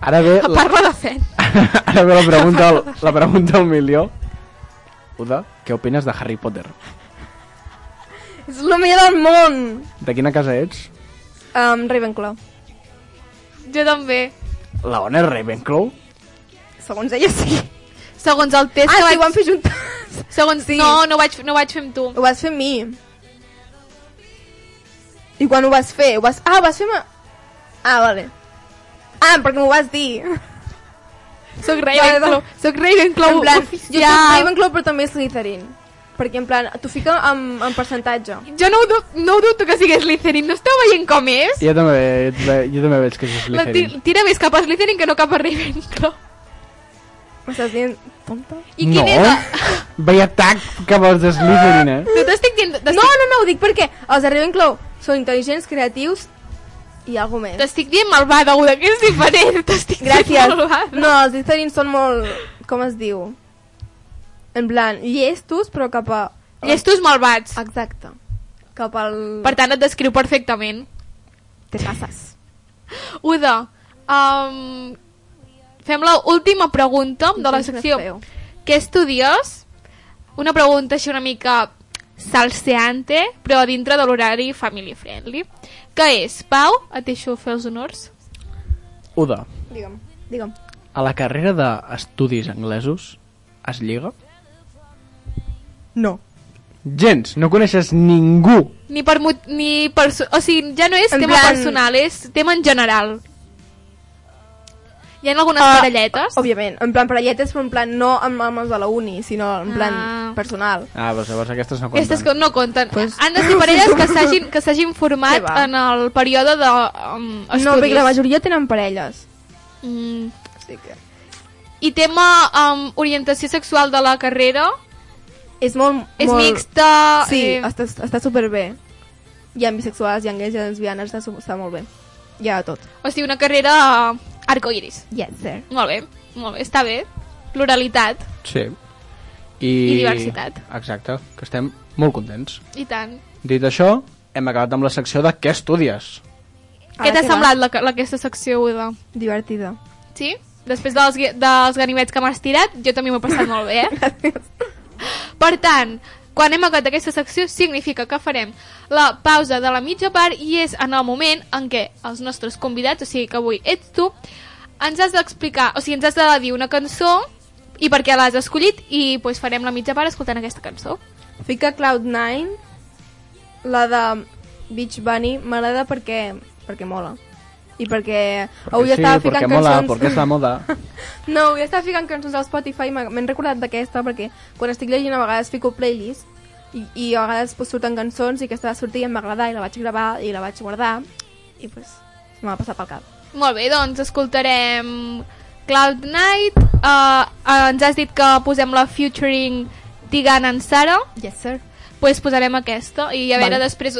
E: Ara ve, la,
D: Parla de fet.
E: <laughs> ara ve la, pregunta, al- la pregunta al milió. Uda, què opines de Harry Potter?
F: És el millor del món!
E: De quina casa ets?
F: Um, Ravenclaw.
D: Jo també.
E: La ona és Ravenclaw?
F: Segons ella sí.
D: Segons el test
F: Ah,
D: que
F: sí,
D: vaig...
F: ho vam fer juntes.
D: Segons...
F: Sí.
D: No, no vaig, no vaig fer amb tu.
F: Ho vas fer amb mi. I quan ho vas fer? Ho vas... Ah, ho vas fer amb... Ah, vale. Ah, perquè m'ho vas dir.
D: Soc Ravenclaw.
F: Vale, vale.
D: Soc Ravenclaw
F: en plan, jo soc
D: oficial.
F: Ravenclaw però també Slytherin. Perquè, en plan, t'ho fica en, en percentatge.
D: Jo no ho, dub no ho dubto que sigués Slytherin. No esteu veient com és?
E: Jo també, jo, també- jo també veig que és
D: La ti-
E: Slytherin.
D: tira més cap a Slytherin que no cap a Ravenclaw.
F: M'estàs dient tonta?
D: I quin
E: no.
D: és la...
E: Veia atac cap als de Slytherin, eh?
D: No t'estic dient...
F: No, no, no, ho dic perquè els de Ravenclaw són intel·ligents, creatius i algo més.
D: <laughs> T'estic dient malvada, Uda, que és diferent. T'estic dient
F: Gràcies.
D: malvada.
F: No, els Slytherin són molt com es diu? En plan, llestos, però cap a...
D: Llestos malvats.
F: Exacte. Cap al...
D: Per tant, et descriu perfectament.
F: Te passes.
D: Uda, um, fem la última pregunta de la secció.
F: Feu.
D: Què estudies? Una pregunta així una mica salseante, però dintre de l'horari family friendly. Què és? Pau, et deixo fer els honors.
E: Uda,
F: Digue'm, digue'm.
E: a la carrera d'estudis anglesos es lliga?
F: No.
E: Gens, no coneixes ningú.
D: Ni per... mot- Ni per o sigui, ja no és
F: En
D: tema
F: plan-
D: personal, és tema en general. Hi ha algunes
F: Ah,
D: parelletes?
F: Òbviament, en plan parelletes, però en plan no amb, amb els de la uni, sinó en plan
D: Ah.
F: personal.
E: Ah, doncs llavors aquestes no compten.
D: Aquestes que no compten. Pues...
F: Pues-
D: Han de ser parelles
F: <laughs>
D: que s'hagin que s'hagin format
F: Què va?
D: en el període de um, estudis.
F: No, perquè la majoria tenen parelles.
D: Mm.
F: Així que...
D: I tema um, orientació sexual de la carrera
F: És molt...
D: és
F: molt...
D: mixta.
F: Sí,
D: eh,
F: està, està superbé. Hi ha bisexuals, hi ha gais, hi ha lesbianes, està, su- està molt bé. Hi ha de tot.
D: O sigui, una carrera uh, arcoiris.
F: Yes, sir.
D: Molt bé, molt bé, està bé. Pluralitat,
E: Sí. I...
D: I diversitat.
E: Exacte, que estem molt contents.
D: i tant.
E: Dit això, hem acabat amb la secció de què estudies.
D: Què t'ha semblat la, la, aquesta secció, Uda?
F: Divertida.
D: Sí? Després dels, gui- dels ganivets que m'has tirat, jo també m'ho he passat molt bé, eh? Per tant, quan hem acabat aquesta secció significa que farem la pausa de la mitja part i és en el moment en què els nostres convidats, o sigui que avui ets tu, ens has d'explicar, o sigui, ens has de dir una cançó i per què l'has escollit i pues, farem la mitja part escoltant aquesta cançó.
F: Fica Cloud9, la de Beach Bunny, m'agrada perquè, perquè mola. I perquè, avui
E: Perquè
F: estava
E: perquè
F: ficant
E: mola,
F: cançons...
E: perquè és la moda.
D: <laughs>
F: <laughs> No, avui estava ficant cançons al Spotify, m'ha- m'he recordat d'aquesta perquè quan estic llegint a vegades fico playlist i, i a vegades pues, surten cançons i aquesta va sortir i em va agradar i la vaig gravar i la vaig guardar i pues, se m'ha passat pel cap.
D: Molt bé, doncs escoltarem Cloud Night, uh, ens has dit que posem la featuring Tigan and Sara.
F: Yes, sir.
D: pues posarem aquesta i a veure
F: Vale.
D: després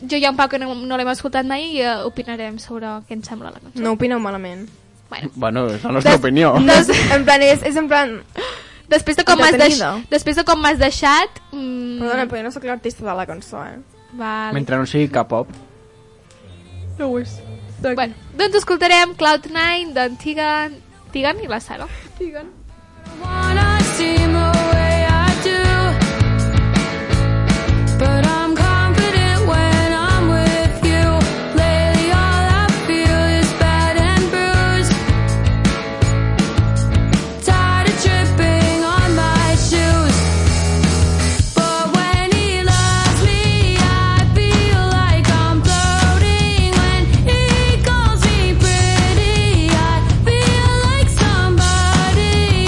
D: jo i en Pau que no, no l'hem escoltat mai i eh, opinarem sobre què ens sembla la cançó
F: No opineu malament.
D: bueno,
E: bueno, és la nostra
D: Des-
E: opinió.
D: No.
F: és,
E: <laughs>
F: en plan, és, és en plan...
D: després de com m'has deix...
F: Entretenida.
D: després de com m'has deixat mm,
F: Perdona, però jo no sóc l'artista de la cançó, eh?
D: vale.
E: Mentre no sigui K-pop.
F: No ho és.
D: bueno, doncs escoltarem Cloud9 d'en Tigan Tigan i la Sara
F: Bueno.
G: Somebody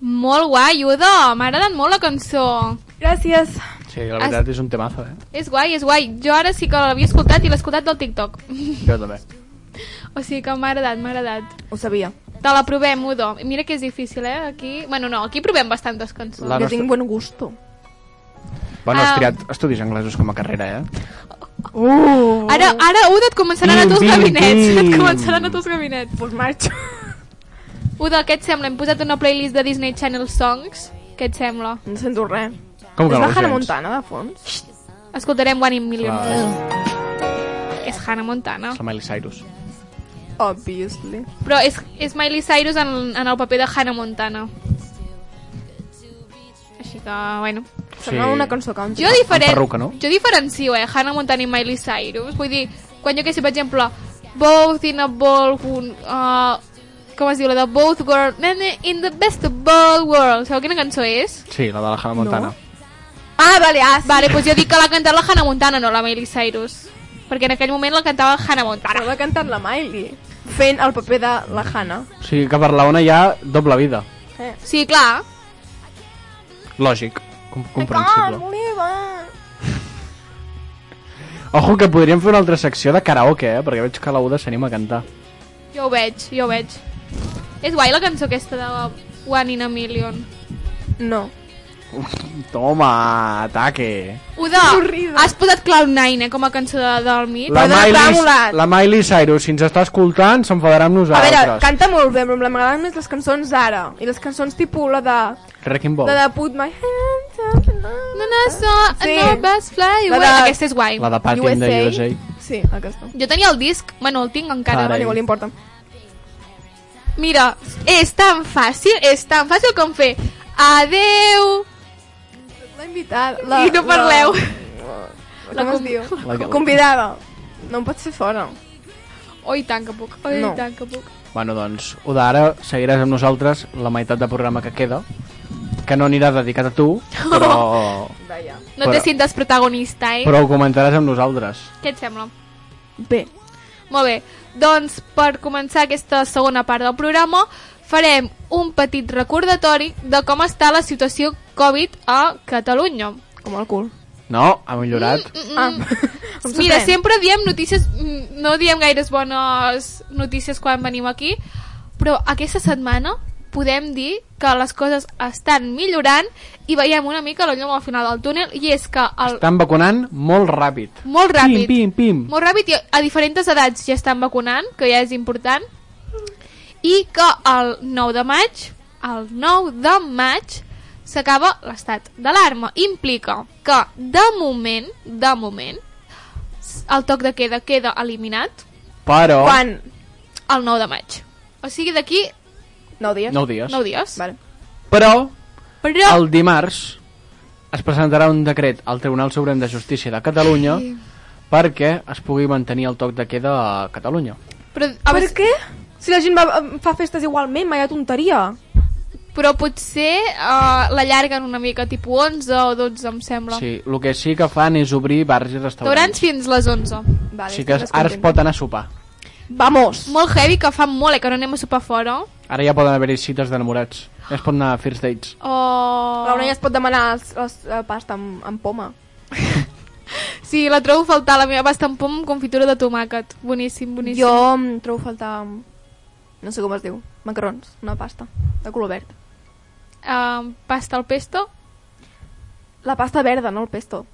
D: molt guai, Udo. M'ha agradat molt la cançó.
F: Gràcies.
E: Sí, la veritat és un temazo, eh?
D: És guai, és guai. Jo ara sí que l'havia escoltat i l'he escoltat del TikTok. <laughs>
E: Jo també.
D: O sigui que m'ha agradat, m'ha agradat.
F: Ho sabia.
D: Te la provem, Udo. Mira que és difícil, eh? Aquí... Bueno, no, aquí provem bastantes cançons.
E: La
F: jo
E: nostra-
F: tinc bon gusto.
E: Bueno, has
D: Ah.
E: triat estudis anglesos com a carrera, eh?
F: Uh!
D: Ara, ara Udo, et començaran a
E: Bim,
D: tu els
E: bim,
D: gabinets. Et
E: bim.
D: començaran a tu els gabinets.
F: Pues marxo.
D: Udo, què et sembla? Hem posat una playlist de Disney Channel Songs. Què et sembla?
F: No sento res.
E: Com
F: És
E: que no
F: la
E: ho
F: Hannah
E: sents?
F: Montana, de fons?
D: Escoltarem One in Million.
E: Clar,
D: És Hannah Montana.
E: és la Miley Cyrus.
F: Obviously.
D: Però és, és Miley Cyrus en, en el paper de Hannah Montana. Així que, bueno.
F: Sembla una cançó country.
D: Jo, diferen...
E: perruca, no?
D: jo diferencio, eh, Hannah Montana i Miley Cyrus. Vull dir, quan jo que sé, per exemple, Both in a ball... Un, uh, com es diu? La de Both Girls... In the best of both worlds. Sabeu quina cançó és?
E: Sí, la de la Hannah Montana.
F: Ah, vale, ah, sí.
D: Vale, doncs jo dic que l'ha cantat la Hannah Montana, no la Miley Cyrus. Perquè en aquell moment la cantava Hannah Montana.
F: Però l'ha cantat la Miley. Fent el paper de la Hannah.
E: O sigui que per la ona hi ha doble vida.
D: Sí, clar.
E: Lògic. Com
F: Ah,
E: comprensible.
F: Oliva!
E: Ojo que podríem fer una altra secció de karaoke, eh? Perquè veig que la Uda s'anima a cantar.
D: Jo ho veig, jo ho veig. És guai la cançó aquesta de One in a Million.
F: No.
E: Toma, ataque.
D: Uda,
F: Horrible.
D: has posat Cloud9, eh, com a cançó de, del mig.
E: La
F: Perdona, t'ha
E: Miley,
F: volat.
E: la Miley Cyrus, si ens està escoltant, s'enfadarà amb
F: A
E: nosaltres.
F: veure, canta molt bé, però m'agraden més les cançons ara. I les cançons tipus la de...
E: Wrecking Ball.
F: La de Put My Hands Up and Up.
D: No, no, so,
F: Sí.
D: no, best fly
F: La
D: away.
F: de-
D: Aquesta és guai.
E: La de Patty de USA.
F: Sí, aquesta.
D: Jo tenia el disc, bueno, el tinc encara.
E: Carai.
F: Bueno, igual li importa.
D: Mira, és tan fàcil, és tan fàcil com fer adeu
F: La invitada.
D: la,
F: La,
D: i no parleu. <laughs> La
F: La, com es
D: com-
F: diu?
E: la- la-
F: Convidada. No em pots fer fora.
D: Oh, i tant que puc, oh,
F: No.
D: i tant que puc.
E: Bueno, doncs, Uda, ara seguiràs amb nosaltres la meitat del programa que queda, que no anirà dedicat a
F: <laughs>
E: tu, però,
F: Vaya.
D: No
E: Però-
D: te sintes protagonista, eh?
E: però ho comentaràs amb nosaltres.
D: Què et sembla?
F: Bé.
D: Molt bé, doncs per començar aquesta segona part del programa farem un petit recordatori de com està la situació Covid a Catalunya.
F: Com el cul.
E: No, ha millorat.
D: Mm,
F: Ah, em
D: Mira,
F: sorprèn.
D: sempre diem notícies, mm, no diem gaires bones notícies quan venim aquí, però aquesta setmana podem dir que les coses estan millorant i veiem una mica la llum al final del túnel i és que el,
E: Estan vacunant molt ràpid.
D: molt ràpid.
E: Pim, pim, pim.
D: Molt ràpid i a diferents edats ja estan vacunant, que ja és important. I que el 9 de maig, el 9 de maig, s'acaba l'estat d'alarma. Implica que, de moment, de moment, s- el toc de queda queda eliminat
E: Però,
F: Quan?
D: el 9 de maig. O sigui, d'aquí
F: 9 dies?
E: 9 dies.
D: 9 dies.
F: Vale.
E: Però,
D: Però
E: el dimarts es presentarà un decret al Tribunal Suprem de Justícia de Catalunya perquè es pugui mantenir el toc de queda a Catalunya.
D: Però, a
F: A per
D: veure,
F: què? Si la gent va, fa festes igualment, mai tonteria.
D: però potser uh, l'allarguen una mica, tipus 11 o 12, em sembla. Sí.
E: Sí, el que sí que fan és obrir bars i restaurants.
D: Taurans fins les 11.
F: Vale,
E: Així
D: eh,
E: que ara es pot anar a sopar.
F: Vamos!
D: Molt heavy, que fa molt, eh, que no anem a sopar fora.
E: Ara ja poden haver-hi cites d'enamorats. Ja es pot anar a first dates.
D: Oh...
F: La Laura ja es pot demanar els, els, eh, pasta amb, amb poma.
D: Sí, la trobo a faltar, la meva pasta amb pom amb confitura de tomàquet. Boníssim, boníssim.
F: Jo em trobo a faltar... No sé com es diu. Macarrons. Una pasta. De color verd.
D: Uh, pasta al pesto?
F: La pasta verda, no el pesto.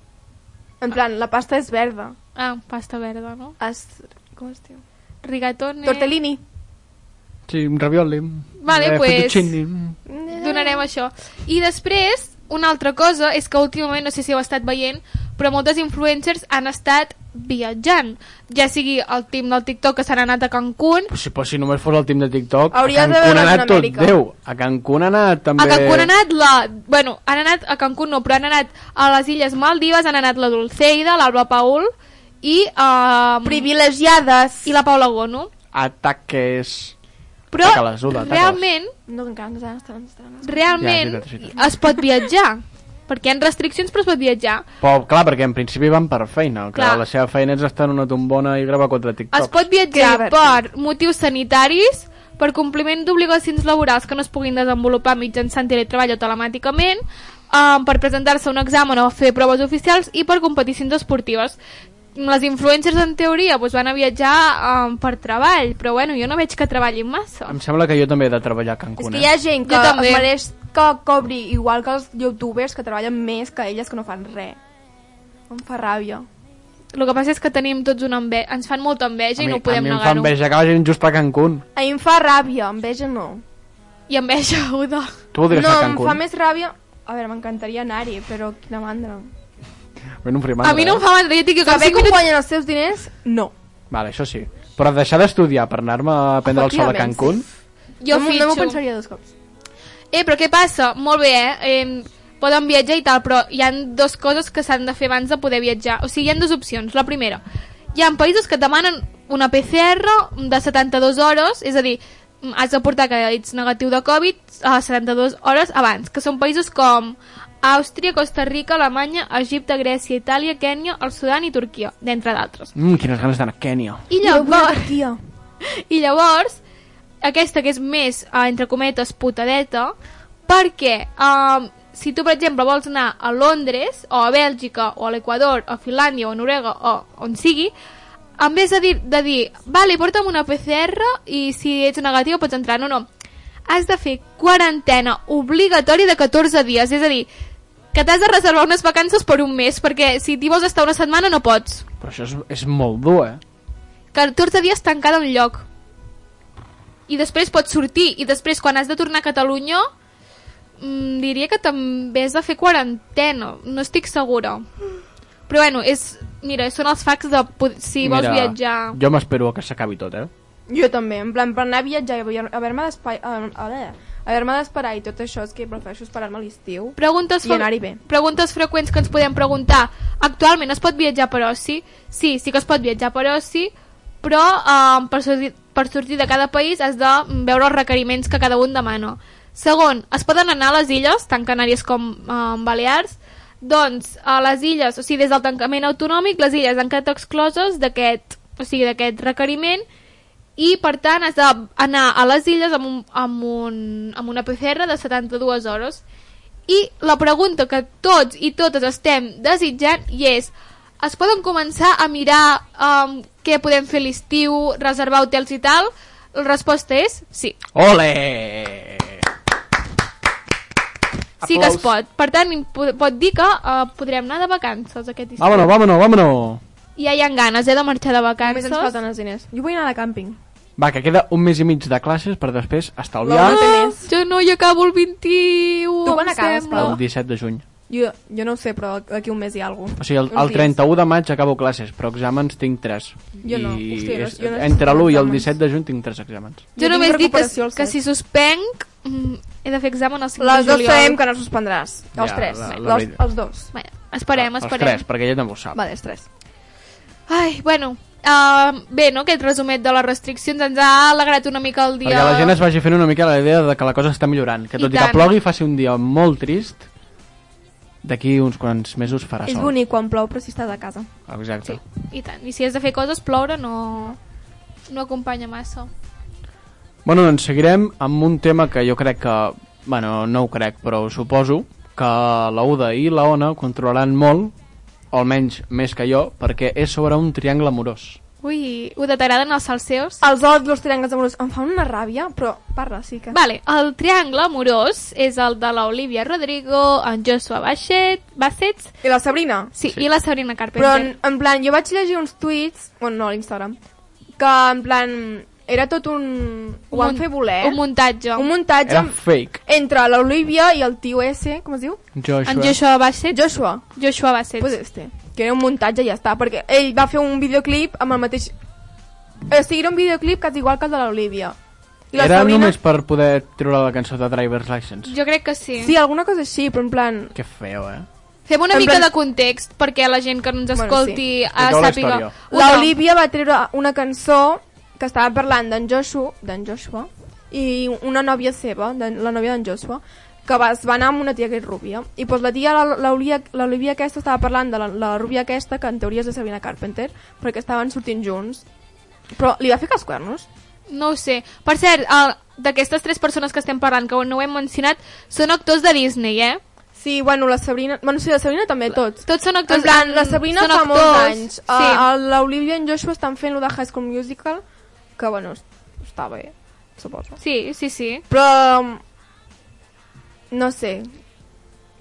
F: En plan, la pasta és verda.
D: Ah, pasta verda, no?
F: Es... Com es diu?
D: Rigatone...
F: Tortellini.
E: Sí, un ravioli.
D: Vale,
E: Eh,
D: pues.
E: fettuccini.
D: Donarem això. I després, una altra cosa és que últimament, no sé si heu estat veient, però moltes influencers han estat viatjant. Ja sigui el team del TikTok que s'han anat a Cancún,
E: Però si, però si només fos el team de TikTok,
F: Hauries
E: a
F: de
E: Cancún ha
F: veure
E: anat tot
F: Amèrica.
E: Déu. A Cancún ha anat també...
D: A Cancún han anat la... Bueno, han anat a Cancún no, però han anat a les Illes Maldives, han anat la Dulceida, l'Alba Paul i... Um,
F: Privilegiades.
D: I la Paula Gono.
E: Ataques...
D: Però
E: Taca-les, Uda, taca-les.
D: realment,
F: No, que encara no estan, estan, estan.
D: realment
E: Ja, és veritat, és veritat.
D: es pot viatjar. Perquè hi ha restriccions, però es pot viatjar.
E: Però, clar, perquè en principi van per feina, que
D: Clar.
E: la seva feina és estar en una tombona i gravar contra
D: Es
E: TikTok.
D: pot viatjar
F: Que divertit.
D: per motius sanitaris, per compliment d'obligacions laborals que no es puguin desenvolupar mitjançant teletreball o telemàticament, um, per presentar-se a un examen o fer proves oficials i per competicions esportives. Les influencers, en teoria, doncs van a viatjar um, per treball, però bueno, jo no veig que treballin massa.
E: Em sembla que jo també he de treballar a
F: És
E: Cancún.
F: que hi ha
E: eh?
F: gent que
D: Jo també.
F: es mereix que cobri igual que els youtubers que treballen més que elles que no fan res. Em fa ràbia.
D: El que passa és que tenim tots una enveja, ens fan molta enveja
E: A
D: i
E: mi,
D: no podem
E: a mi em fa
D: negar-ho.
E: enveja que vagin just a Cancún.
F: A mi em fa ràbia, enveja no.
D: I enveja, <laughs> Udo.
E: Tu voldries
F: no,
E: anar a
F: em
E: Cancún.
F: fa més ràbia... A veure, m'encantaria anar-hi, però quina mandra.
E: Bueno, eh? un primat,
D: A mi no em fa mandra, jo tinc que com
F: Saber
D: 5
F: com
D: minuts...
F: guanyen els seus diners, no.
E: Vale, això sí. Però deixar d'estudiar per anar-me a prendre el sol a
F: Efectivament,
E: Cancún...
D: Jo
F: no, m'ho- no m'ho
D: fitxo.
F: pensaria dos cops.
D: Eh, però què passa? Molt bé, eh? eh poden viatjar i tal, però hi han dues coses que s'han de fer abans de poder viatjar. O sigui, hi ha dues opcions. La primera, hi ha països que et demanen una PCR de 72 hores, és a dir, mm, has de portar que ets negatiu de Covid a 72 hores abans, que són països com Àustria, Costa Rica, Alemanya, Egipte, Grècia, Itàlia, Kènia, el Sudan i Turquia, d'entre d'altres.
E: Mm, quines ganes d'anar a Kènia.
D: I
F: Jo vull anar
D: llavors...
F: a Turquia.
D: I llavors, aquesta que és més, eh, entre cometes, putadeta, perquè eh, si tu, per exemple, vols anar a Londres, o a Bèlgica, o a l'Equador, o a Finlàndia, o a Noruega, o on sigui, en vez de dir, de dir vale, porta'm una PCR i si ets negatiu pots entrar, no, no. Has de fer quarantena obligatòria de 14 dies, és a dir, que t'has de reservar unes vacances per un mes, perquè si t'hi vols estar una setmana no pots.
E: Però això és, és molt dur, eh?
D: 14 dies tancada a un lloc i després pots sortir i després quan has de tornar a Catalunya mm, diria que també has de fer quarantena no estic segura però bueno, és, mira, són els facts de po- si vols
E: Mira,
D: viatjar
E: Jo m'espero que s'acabi tot, eh?
F: Jo també, en plan, per anar a viatjar i haver- haver-me d'espai- eh, a veure, haver-me d'esperar i tot això és que prefereixo esperar-me a l'estiu.
D: preguntes,
F: I
D: fre-
F: anar-hi bé.
D: preguntes freqüents que ens podem preguntar actualment es pot viatjar per oci? sí, sí que es pot viatjar per oci però eh, per, sortir, per sortir de cada país has de mm, veure els requeriments que cada un demana segon, es poden anar a les illes tant Canàries com eh, Balears doncs a les illes, o sigui des del tancament autonòmic, les illes han quedat excloses d'aquest o sigui, d'aquest requeriment i per tant has d'anar a les illes amb, un, amb, un, amb una PCR de 72 hores i la pregunta que tots i totes estem desitjant i és es poden començar a mirar um, què podem fer a l'estiu, reservar hotels i tal? La resposta és sí,
E: Ole!
D: sí que es pot. Per tant, po- pot dir que uh, podrem anar de vacances
F: Ah,
D: aquest estiu.
E: Vámonos, vámonos, vámonos!
D: Ja hi ha ganes, eh, de marxar de
F: Només ens
D: vacances.
F: falten els diners. Jo vull anar de càmping.
E: Va, que queda un mes i mig de classes per després
F: La
E: estalviar
F: una té més.
D: Jo no, jo acabo el 21,
F: Tu quan
D: em
F: acabes,
D: sembla.
E: el 17 de juny.
F: Jo, jo no ho sé, però d'aquí un mes hi ha alguna
E: O sigui, el, el 31 de maig acabo classes, però exàmens tinc 3.
F: Jo no,
E: I
F: hòstia, no-
E: és,
F: jo no
E: entre l'1 i el
F: exàmens.
E: 17 de juny tinc 3 exàmens.
D: Jo només dic que, que si suspenc mm, he de fer examen el 5
F: Les
D: de
F: dos
D: juliol.
F: sabem que no suspendràs.
E: Ja,
F: els tres.
E: la- la Ah.
F: Los-
E: veritat.
F: els dos.
D: Bé,
F: Ah,
D: esperem,
E: Els
D: esperem.
E: 3, perquè ella també ho sap.
F: Vale, els tres.
D: Ai, bueno, uh, bé, no?, aquest resumet de les restriccions ens ha alegrat una mica el dia.
E: Perquè la gent es vagi fent una mica la idea de que la cosa està millorant. Que
D: I
E: tot i,
D: tant.
E: que plogui faci un dia molt trist, d'aquí uns quants mesos farà
F: És
E: sol.
F: bonic quan plou, però si estàs a casa.
E: Exacte.
D: Sí, i tant. I si has de fer coses, ploure no, no acompanya massa.
E: Bueno, doncs seguirem amb un tema que jo crec que... Bueno, no ho crec, però ho suposo que la Uda i la Ona controlaran molt, o almenys més que jo, perquè és sobre un triangle amorós.
D: Ui, ho t'agraden els salseos?
F: Els odio, els triangles amorosos. Em fan una ràbia, però parla, sí que...
D: Vale, el triangle amorós és el de l'Olivia Rodrigo, en Joshua Bassett, Bassett
F: I la Sabrina?
D: sí, sí, i la Sabrina Carpenter.
F: Però, en, en plan, jo vaig llegir uns tuits, bueno, no, a l'Instagram, que, en plan, era tot un... Ho van
D: mun-
F: fer voler.
D: Un muntatge.
F: Un muntatge
E: Era fake.
F: entre l'Olivia i el tio S, com es diu?
E: Joshua.
D: en Joshua Bassett.
F: Joshua.
D: Joshua Bassett.
F: Pues este. Que era un muntatge i ja està, perquè ell va fer un videoclip amb el mateix... O sigui, era un videoclip quasi igual que el de l'Olivia. I la
E: Era
F: Sabrina...
E: només per poder treure la cançó de Driver's License.
D: Jo crec que sí.
F: Sí, alguna cosa així, però en plan...
E: Que feo, eh?
D: Fem una
F: En
D: mica
F: plan-
D: de context perquè la gent que no ens
F: Bueno,
D: escolti
E: Expliqueu
D: eh,
E: la
D: sàpiga...
E: història.
F: La Olivia va treure una cançó que estava parlant d'en Joshua, d'en Joshua i una nòvia seva, de, la nòvia d'en Joshua, que va, es va anar amb una tia que és rúbia. I doncs la tia, la- la Olivia- la Olivia aquesta, estava parlant de la, la rúbia aquesta, que en teoria és la Sabrina Carpenter, perquè estaven sortint junts. Però li va fer cas cuernos.
D: No ho sé. Per cert, el- d'aquestes tres persones que estem parlant, que no ho hem mencionat, són actors de Disney, eh?
F: Sí, bueno, la Sabrina... Bueno, sí, la Sabrina també, tots.
D: Tots són actors...
F: En plan, la Sabrina
D: són
F: fa molts
D: actors,
F: anys. eh,
D: Sí.
F: Sí. L'Olivia i en Joshua estan fent lo de High School Musical, que, bueno, es- està bé, suposo.
D: sí, sí, sí.
F: Però... mm, No sé.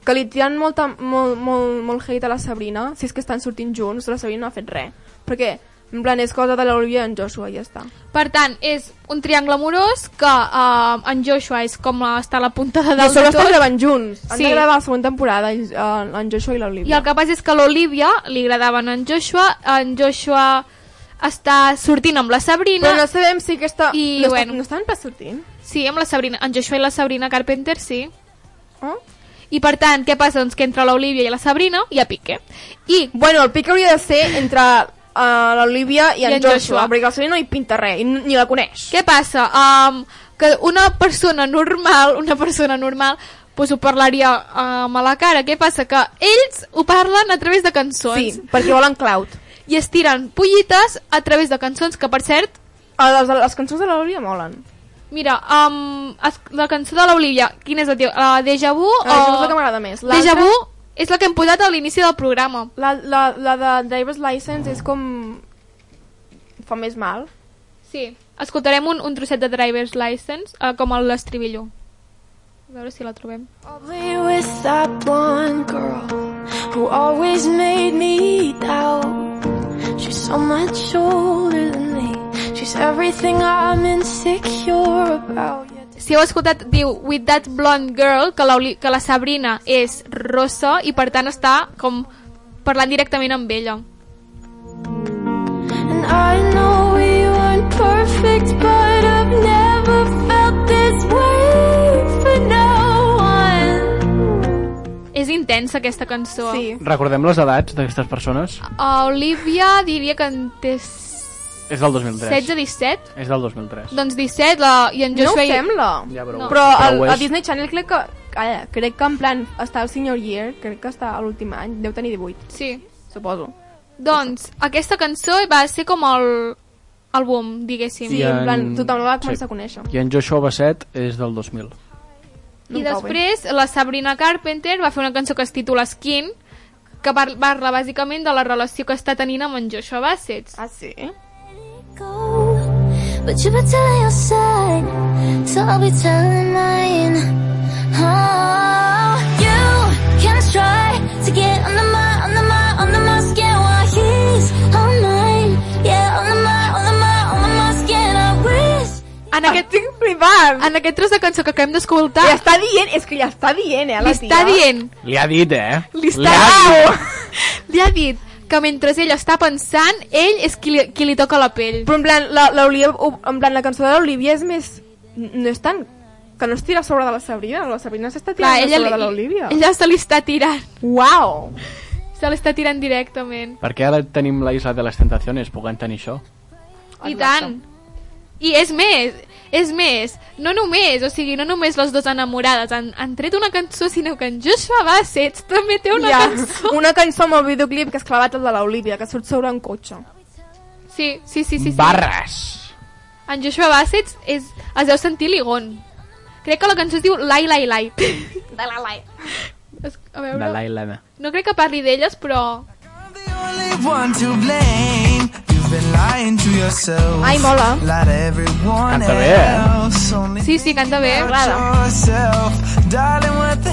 F: Que li tiren molta, molt, molt, molt hate a la Sabrina, si és que estan sortint junts, la Sabrina no ha fet res. Perquè, en plan, és cosa de l'Olivia i en Joshua, i ja està.
D: Per tant, és un triangle amorós que eh, en Joshua és com està a la punta de
F: I a
D: dalt
F: sobre
D: de
F: estan
D: tot.
F: gravant junts. Han
D: Sí.
F: de gravar la següent temporada, ells, eh, en Joshua i l'Olivia.
D: I el que passa és que a l'Olivia li agradaven en Joshua, en Joshua està sortint amb la Sabrina...
F: Però no sabem si aquesta...
D: I,
F: no, està-
D: bueno.
F: no estan pas sortint?
D: Sí, amb la Sabrina, en Joshua i la Sabrina Carpenter, sí.
F: Oh?
D: I per tant, què passa? Doncs que entre l'Olivia i la Sabrina hi ha pique. I
F: Bueno, el pic hauria de ser entre uh, l'Olivia i, en Joshua, perquè la Sabrina no hi pinta res, i n- ni la coneix.
D: què passa? Um, que una persona normal, una persona normal, doncs ho parlaria um, a la cara. Què passa? Que ells ho parlen a través de cançons.
F: Sí, perquè volen Cloud.
D: I es tiren pollites a través de cançons, que per cert,
F: Ah, Les, les cançons de l'Olivia molen. Eh,
D: mira, um, es, la cançó de l'Olivia, quina és la teva? La Deja Vu?
F: La
D: o-
F: Deja Vu és la que m'agrada més. L'altra-
D: Deja Vu és la que hem posat a l'inici del programa.
F: La, la, la de Driver's License és com... fa més mal.
D: Sí, escoltarem un, un trosset de Driver's License, eh, com el l'estribillo. A veure si la trobem.
C: Probably with that blonde girl who always made me doubt. She's so much older than me. She's everything I'm insecure about.
D: Si heu escoltat, diu With That Blonde Girl, que la, que la Sabrina és rossa i per tant està com parlant directament amb ella.
C: And I know we weren't perfect, but I've never felt this way for no one.
D: És intensa aquesta cançó.
F: Sí.
E: Recordem les edats d'aquestes persones?
F: Ah.
D: A Olivia diria que en té
E: És del 2003.
D: 16-17?
E: És del 2003.
D: Doncs 17, la, i en
F: no ho
D: Joshua... i-
F: sembla.
E: Ja, però,
D: No.
F: Però el,
E: ho
F: a
E: és.
F: Disney Channel crec que... Calla, crec que en plan està el senior year, crec que està a l'últim any, deu tenir 18,
D: Sí.
F: suposo.
D: Doncs aquesta cançó va ser com el, el boom, diguéssim.
F: Sí,
E: I
F: en...
E: en-
F: plan, tothom la va començar
E: sí.
F: a conèixer.
E: I en Joshua Bassett és del 2000.
F: No
D: I
F: em cau bé.
D: després la Sabrina Carpenter va fer una cançó que es titula Skin, que par- parla bàsicament de la relació que està tenint amb en Joshua Bassett.
F: Ah, sí?
C: Go, but you better tell your side, so I'll be telling mine. Oh, you can try to get under my, under my, under my skin while he's on mine. Yeah, under my, under my, under my skin. I wish.
F: Ah.
D: En aquest,
F: Estic flipant!
D: en aquest tros de cançó que acabem d'escoltar,
F: Li està dient, és que ja està dient, eh,
D: li
F: la
D: està
F: tia.
D: dient,
E: Li ha dit, eh?
D: li està li ha dit que mentre ella està pensant, ell és qui li, qui li toca la pell.
F: Però en plan, la, la, en plan, la cançó de l'Olivia és més... No és tan... Que no es tira a sobre de la Sabrina, la Sabrina s'està tirant a sobre de l'Olivia. Ella...
D: ella se li està tirant,
F: Uau!
D: se li està tirant directament.
E: Perquè ara tenim la Isla de les Tentaciones, puguem tenir això.
D: I tant. I és més, és més, no només, o sigui, no només les dues enamorades han, han tret una cançó, sinó que en Joshua Bassett també té una
F: ja.
D: cançó.
F: Una cançó amb el videoclip que és clavat el de l'Olivia, que surt sobre un cotxe.
D: Sí, sí, sí, sí. sí.
E: Barres!
D: En Joshua Bassett és, es deu sentir ligon. Crec que la cançó es diu Lai Lai Lai. De la <laughs> Lai. Es- A
E: De
D: veure,
E: la Isla.
D: no crec que parli d'elles, però...
A: I'm the only one to blame. You've been lying to yourself.
F: Ai, mola.
A: Like everyone
E: Canta bé.
A: else. Only
D: Sí, sí, canta bé.
F: M'agrada.
A: yourself. Darling, what the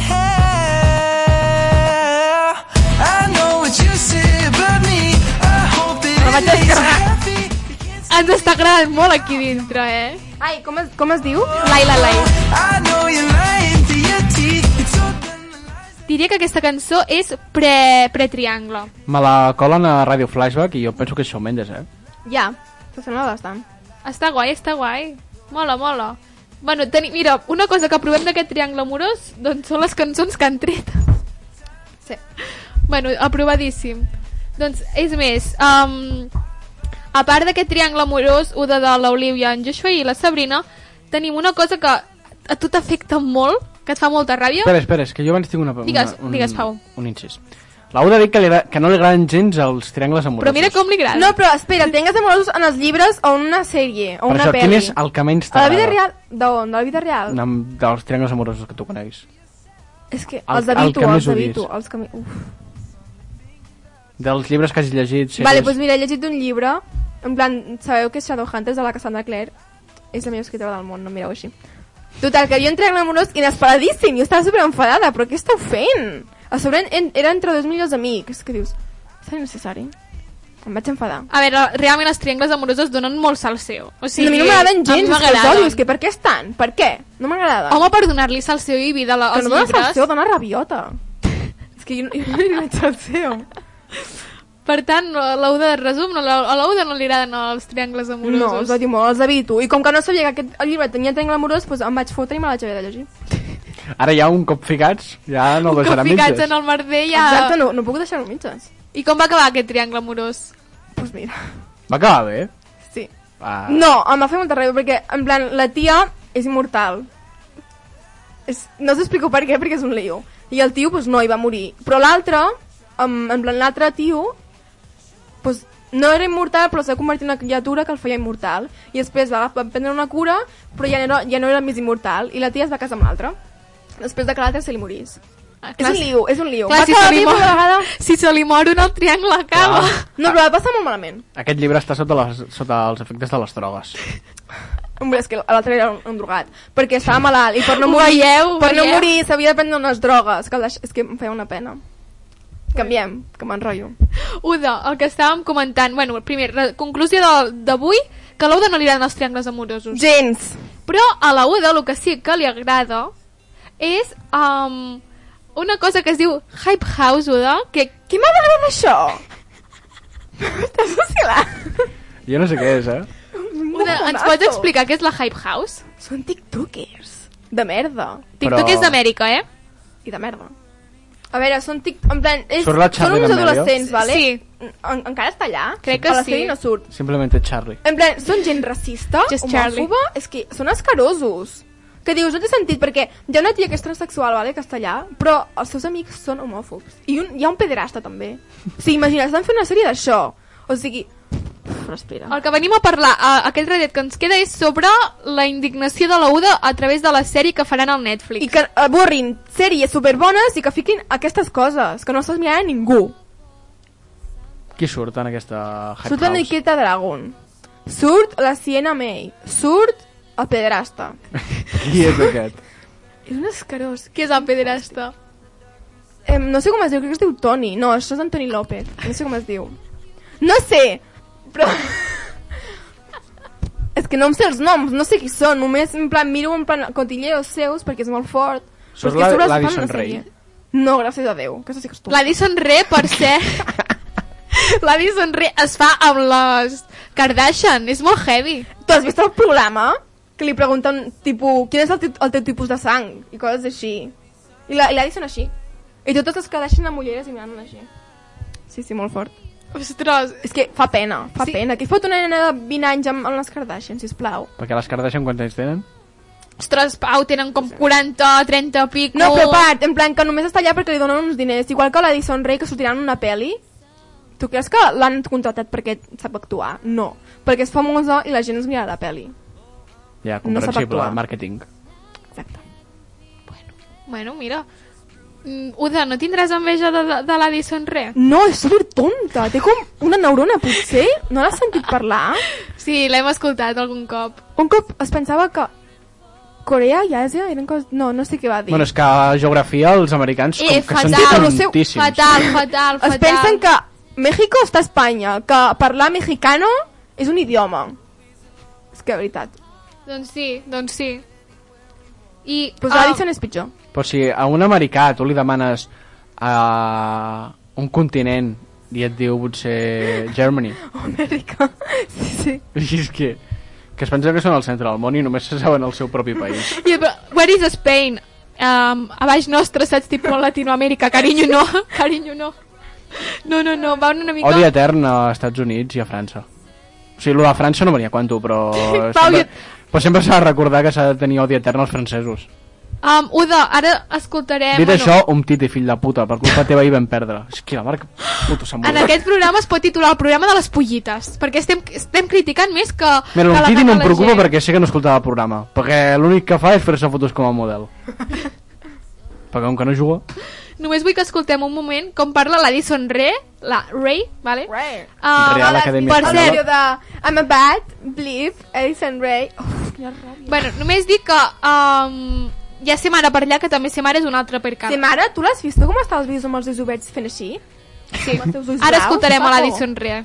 A: hell? I know what you said about me. I hope that
F: La
A: it
F: vaig
A: makes you
F: descarregar.
A: happy.
D: Ens està agradant molt aquí dintre, eh?
F: Ai, com es, com es diu?
D: Lai Lai Lai.
A: I know you're lying through your teeth. You told them the lies
D: Diria que aquesta cançó és pre- pre-triangle. Pre
E: Me la colen a Radio Flashback i jo penso que és Shawn Mendes, eh?
F: Ja, s'assembla bastant.
D: Està guai, està guai. Mola, mola. Bueno, teni... mira, una cosa que provem d'aquest triangle amorós doncs són les cançons que han tret. Sí. Bueno, aprovadíssim. Doncs, és més, um, a part d'aquest triangle amorós, un de, de l'Olivia, en Joshua i la Sabrina, tenim una cosa que a tu t'afecta molt, que et fa molta ràbia.
E: Espera, espera, és que jo abans tinc una... una
D: Digues, digues, Pau.
E: Un incís. La Uda ha dit que, li, agra- que no li agraden gens els triangles amorosos.
D: Però mira com li agrada.
F: No, però espera, tengas amorosos en els llibres o en una sèrie o
E: Per
F: una
E: això, quin
F: pel·li.
E: és el que menys
F: A la vida
E: t'agrada?
F: real, d'on? De la vida real?
E: No, dels triangles amorosos que tu coneguis.
F: És que
E: El- el
F: els d'habitu,
E: que més
F: els
E: odies.
F: d'habitu, els que... mi- Uf.
E: Dels llibres que hagis llegit... sèries-
F: Vale, doncs mira, he llegit un llibre, en plan, sabeu que Shadowhunters de la Cassandra Clare és la millor escritora del món, no mireu així. Total, que jo entré en amorós inesperadíssim, jo estava super enfadada, però què esteu fent? A sobre en, era entre dos millors amics, que dius, és tan necessari? Em vaig enfadar.
D: A veure, realment els triangles amorosos donen molt salseo. O
F: Sí,
D: sigui,
F: a mi no
D: a mi
F: m'agraden gens, és que els
D: m'agraden.
F: odio, és que per què estan? Per què? No m'agrada.
D: Home, per donar-li salseo i vida la,
F: que
D: als
F: no dona
D: llibres.
F: salseo, dona rabiota. <laughs> és que jo, no- jo no li veig salseo.
D: Per tant, no, a l'Uda, resum, no, a l'Uda no li agraden els triangles amorosos.
F: No, els odio molt, els evito. I com que no sabia que aquest llibre tenia triangle amorós, doncs em vaig fotre i me la vaig haver de llegir.
E: Ara ja un cop ficats, ja no el
D: Com
E: deixarà
D: ficats
E: mitges.
D: en el merder ja...
F: Exacte, no, no puc deixar-ho a mitges.
D: I com va acabar aquest triangle amorós?
F: Doncs pues mira, <laughs>
E: Va acabar bé.
F: sí.
E: Va.
F: No, em va fer molta ràbia perquè, en plan, la tia és immortal. És, no us explico per què, perquè és un lío. I el tio, doncs no, hi va morir. Però l'altre, en, en plan, l'altre tio, doncs no era immortal, però s'ha convertit en una criatura que el feia immortal. I després va, va prendre una cura, però ja no, era, ja no era més immortal. I la tia es va casar amb l'altre. Després de que l'altre se li morís.
D: Ah,
F: És un lío, és un lío.
D: clar,
F: va
D: si
F: acabar
D: se li
F: viu
D: mor,
F: una vegada...
D: si se li mor un, el triangle acaba. <laughs>
F: No, però va passar molt malament.
E: Aquest llibre està sota, les, sota els efectes de les drogues.
F: Hombre, és que l'altre era un, un drogat, perquè estava malalt i per no
D: Ho
F: morir,
D: veieu, ho
F: per no
D: veieu?
F: morir s'havia de prendre unes drogues, que el deix... és que em feia una pena. Canviem, que m'enrotllo.
D: Uda, el que estàvem comentant... Bueno, primer, la conclusió del- d'avui, que a l'Uda no li agraden els triangles amorosos.
F: Gens.
D: Però a la Uda el que sí que li agrada és um, una cosa que es diu Hype House, Uda, que...
F: Qui m'ha parlat d'això? M'estàs oscil·lant.
E: Jo no sé què és, eh?
D: Uda, ens pots explicar què és la Hype House?
F: Són tiktokers. De merda.
D: TikTok
E: Però-
D: és d'Amèrica, eh?
F: I de merda. A veure, són tic... En plan, és...
E: Surt la
F: són
E: Charlie
F: uns
E: D'Amelio?
F: adolescents, vale?
D: Sí.
F: En, encara està allà?
D: Crec que
F: A la
D: sí.
F: sèrie no surt.
E: Simplement és Charlie.
F: En plan, són gent racista,
D: Just
F: homòfoba, és que són escarosos. Que dius, no té sentit, perquè hi ha una tia que és transsexual, vale, castellà, però els seus amics són homòfobs. I un, hi ha un pederasta, també. O sigui, imagina, estan fent una sèrie d'això. O sigui... Uf, respira.
D: El que venim a parlar, a, aquell ratet que ens queda, és sobre la indignació de la Uda a través de la sèrie que faran al Netflix.
F: I que avorrin sèries superbones i que fiquin aquestes coses, que no estàs mirant a ningú.
E: Qui surt en aquesta Hype
F: Surt la
E: House?
F: Nikita Dragon. Surt la Siena May. Surt el pederasta.
E: Qui és aquest?
F: És un escarós.
D: Qui és el pederasta?
F: Eh, no sé com es diu, crec que es diu Toni. No, això és Antoni López. No sé com es diu. No sé, però... <laughs> és que no em sé els noms, no sé qui són. Només en plan miro en plan cotilleos seus perquè és molt fort.
E: Surt
F: Però és que
E: la-
F: sobre els
E: l'Addison
F: fan una
E: Rae.
F: sèrie. No, gràcies a Déu, que això sí que és tu.
D: L'Addison Re, per ser... L'Addison Re es fa amb les Kardashian. És molt heavy.
F: Tu has vist el programa? Que li pregunten, tipus, quin és el, tit- el teu tipus de sang? I coses així. I la- i l'Addison així. I totes es quedeixen amb ulleres i mirant així. Sí, sí, molt fort.
D: Ostres,
F: És que fa pena, fa
D: Sí.
F: sí. pena. Qui fot una nena de 20 anys amb, amb les Kardashian, sisplau?
E: Perquè les Kardashian quants anys tenen?
D: ostres, Pau, tenen com 40, 30 pico...
F: No, però a part, en plan, que només està allà perquè li donen uns diners. Igual que l'Addison Rae, que sortirà en una peli. Tu creus que l'han contractat perquè sap actuar? No. Perquè és famosa i la gent es mira la peli.
E: Ja,
F: No sap
E: comprensible,
F: actuar.
E: màrqueting.
F: Exacte.
D: Bueno, mira... Mm, Uda, no tindràs enveja de, de, de l'Addison Re?
F: No, és super tonta. Té com una neurona, potser? No l'has sentit parlar?
D: Sí, l'hem escoltat algun cop.
F: Un cop es pensava que Corea i Àsia eren coses... No, no sé què va dir.
E: Bueno, és que a geografia els americans com
D: Eh,
E: que
D: fatal,
E: són
F: seu-
E: tontíssims.
D: Fatal, fatal, fatal.
F: es pensen que México està a Espanya, que parlar mexicano és un idioma. És que, de veritat.
D: Doncs sí, doncs sí. I...
F: Però
D: ah,
F: l'Addison és
D: <laughs>
F: pitjor.
E: Però si a un americà tu li demanes a un continent i et diu potser Germany, <laughs>
D: Oh,
F: Amèrica. Sí, sí.
E: i és que, que es pensa que són al centre del món i només se saben el seu propi país.
D: I, però, where is Spain? Um, a baix nostre, saps? Tipo a Latinoamèrica. Carinyo, no. <laughs> Carinyo, no. No, no, no. Va una mica...
E: Odi etern a Estats Units i a França. O sigui, lo de França
F: <laughs>
E: no venia a quanto, però...
D: Pau,
E: sempre, però sempre s'ha de recordar que s'ha de tenir odi etern als francesos.
D: Um, Uda, ara escoltarem...
E: Dit això, un titi, fill de puta, per culpa teva hi vam perdre. És que la marca... Puto, s'ha
D: En
E: mort.
D: aquest programa es pot titular el programa de les pollites, perquè estem, estem criticant més que... que
E: Mira, un
D: la
E: titi
D: cara
E: no
D: de
E: em
D: la
E: preocupa
D: gent.
E: perquè sé que no escoltava el programa. Perquè l'únic que fa és fer-se fotos com a model.
D: <laughs>
E: perquè com que no juga...
D: Només vull que escoltem un moment com parla l'Addison Ray, la Ray, vale?
F: Ray.
D: Ah,
E: Real Academia
D: per
E: Espanyola.
D: cert,
F: de I'm a bad, bleep, Edison Ray. Uf, quina ràbia.
D: bueno, només dic que um, ja sé mare per allà, que també sé mare és un altre per cap.
F: Sí, mare, tu l'has vist com està els vídeos amb els ulls oberts fent així? Sí.
D: Ara escoltarem a l'Addison Ray.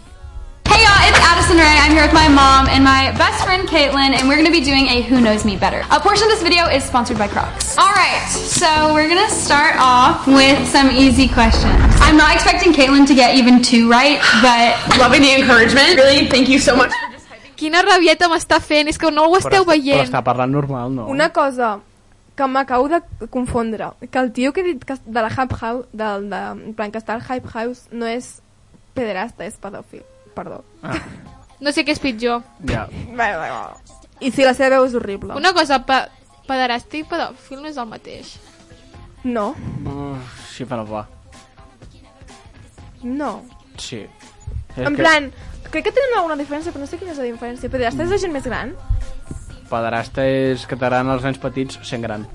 G: Hey y'all, it's Addison Ray. I'm here with my mom and my best friend Caitlin, and we're gonna be doing a Who Knows Me Better. A portion of this video is sponsored by Crocs. Alright, so we're gonna start off with some easy questions. I'm not expecting Caitlin to get even two right, but loving the encouragement. Really, thank you so much.
D: Quina rabieta m'està fent, és que no ho esteu
E: està- Però
D: veient.
E: està parlant normal, no?
F: Oh. Una cosa que m'acabo de confondre, que el tio que he dit que de la Hype House, del, de, en plan que està al Hype House, no és pederasta, és pedòfil. Perdó.
D: No sé què és pitjor.
E: Ja.
F: I si la seva veu és horrible.
D: Una cosa, pa pederàstic i pedòfil no és el mateix.
F: No,
E: Uf, Mm, sí, però va.
F: no.
E: Sí. És
F: En
E: que
F: plan, crec que tenen alguna diferència, però no sé quina és la diferència. Pederasta és la gent més gran?
E: Pederasta és que t'agraden els nens petits sent gran.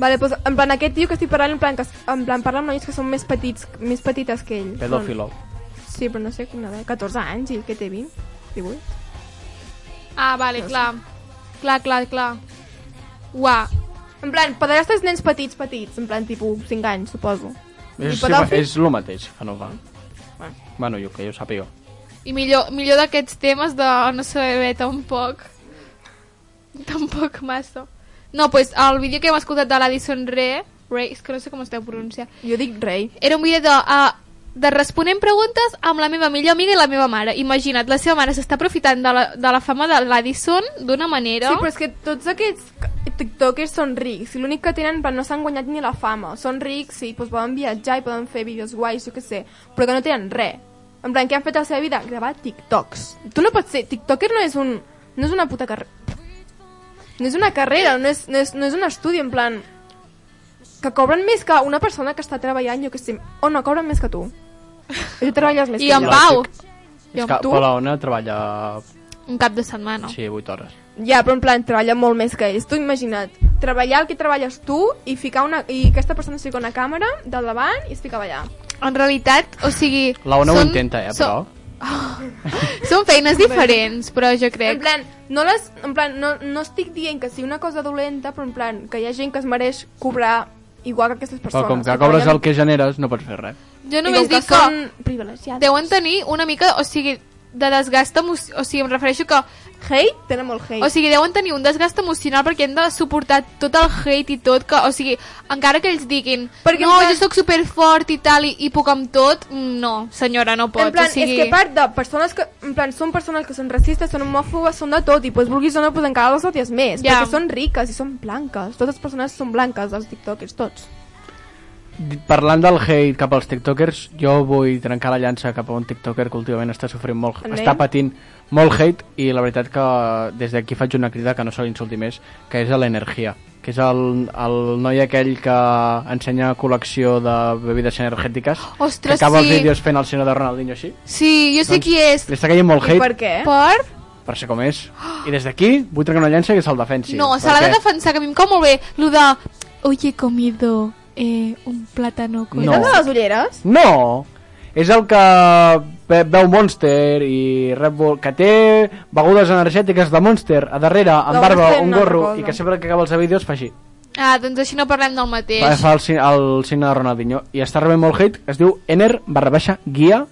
F: Vale, doncs, en plan, aquest tio que estic parlant, en plan, que, es- en plan parla amb noies que són més petits, més petites que ell.
E: Pedòfilo.
F: Són- Sí, però no sé quina edat. 14 anys i que té 20, 18.
D: Ah, vale, clar. Clar, clar, clar. Uà,
F: En plan, pederastes nens petits, petits, en plan, tipus 5 anys, suposo.
E: És, sí,
F: pedòfil?
E: és el mateix, que no va. Bueno, jo que jo sàpiga.
D: i millor, millor d'aquests temes de no saber tampoc. Tampoc massa. No, doncs pues, el vídeo que hem escoltat de l'Addison Re, Re, és que no sé com es deu pronunciar,
F: Jo dic rei.
D: era un vídeo de, uh, de responent preguntes amb la meva millor amiga i la meva mare. Imagina't, la seva mare s'està aprofitant de la, de la fama de l'Addison d'una manera...
F: Sí, però és que tots aquests ca- tiktokers són rics, i l'únic que tenen, en plan, no s'han guanyat ni la fama. Són rics i doncs, poden viatjar i poden fer vídeos guais, jo què sé, però que no tenen res. En plan, què han fet a la seva vida? Gravar tiktoks. Tu no pots ser... Tiktoker no és un... No és una puta carrera. No és una carrera, no és, no, és, no és un estudi, en plan... Que cobren més que una persona que està treballant, jo què sé... O no, cobren més que tu. I tu treballes més
D: I
F: que
D: en
F: jo.
D: Pau,
E: És
D: Jo,
E: que
D: tu?
E: Palaona treballa...
D: un cap de setmana.
E: Sí, 8 hores.
F: Ja, però en plan, treballa molt més que ells. Tu imagina't, treballar el que treballes tu i ficar una, i aquesta persona es fica una càmera del davant i es ficava allà.
D: En realitat, o sigui...
E: La Ona ho
D: són-
E: intenta, eh, però...
D: són- <laughs> Són feines diferents, però jo
F: En
D: crec...
F: plan, no, les, en plan no, no estic dient que sigui una cosa dolenta, però en plan, que hi ha gent que es mereix cobrar igual que aquestes
E: Però
F: persones.
E: com que cobres el que generes, no pots fer res.
D: Jo
F: I com
D: només
F: que
D: dic que
F: són privilegiades.
D: deuen tenir una mica, o sigui, de desgast emocional... O sigui, em refereixo que...
F: Hate? Tenen molt hate.
D: O sigui, deuen tenir un desgast emocional perquè han de suportar tot el hate i tot, que, o sigui, encara que ells diguin
F: Perquè
D: perquè
F: en
D: no,
F: plan-
D: jo sóc superfort i tal i, i puc amb tot, mm, no, senyora, no pots.
F: en plan,
D: o sigui...
F: és que a part de persones que, en plan, són persones que són racistes, són homòfobes, són de tot, i pues, vulguis o no, pues, encara les odies més,
D: Ja.
F: perquè són riques i són blanques. Totes les persones són blanques, els tiktokers, tots.
E: Parlant del hate cap als tiktokers, jo vull trencar la llança cap a un tiktoker que últimament està sofrint molt,
F: En
E: està
F: Nen?
E: patint molt hate i la veritat que des d'aquí faig una crida que no se l'insulti més, que és a l'energia que és el, el noi aquell que ensenya col·lecció de bebides energètiques
D: Ostres,
E: que acaba
D: sí.
E: els vídeos fent el Doncs senyor de Ronaldinho així
D: Sí, jo sé qui és.
E: li està caient molt
F: I
E: hate
F: per què?
D: Per...
E: per ser com és i des d'aquí vull trencar una llança que se'l defensi
D: No, se l'ha de
E: perquè-
D: defensar, que a mi em cau molt bé. Lo de... Oye, he comido eh, un plátano con...
E: No.
F: No. de les ulleres?
E: No! És el que ve- veu Monster i Red Bull, que té begudes energètiques de Monster a darrere, amb
F: No,
E: barba,
F: Monster
E: un
F: no
E: gorro,
F: recordo.
E: i que sempre que acaba els vídeos fa així.
D: Ah, doncs així no parlem del mateix.
E: Va, fa el, si- el signe de Ronaldinho. I està rebent molt hate, es diu Ener barra baixa guia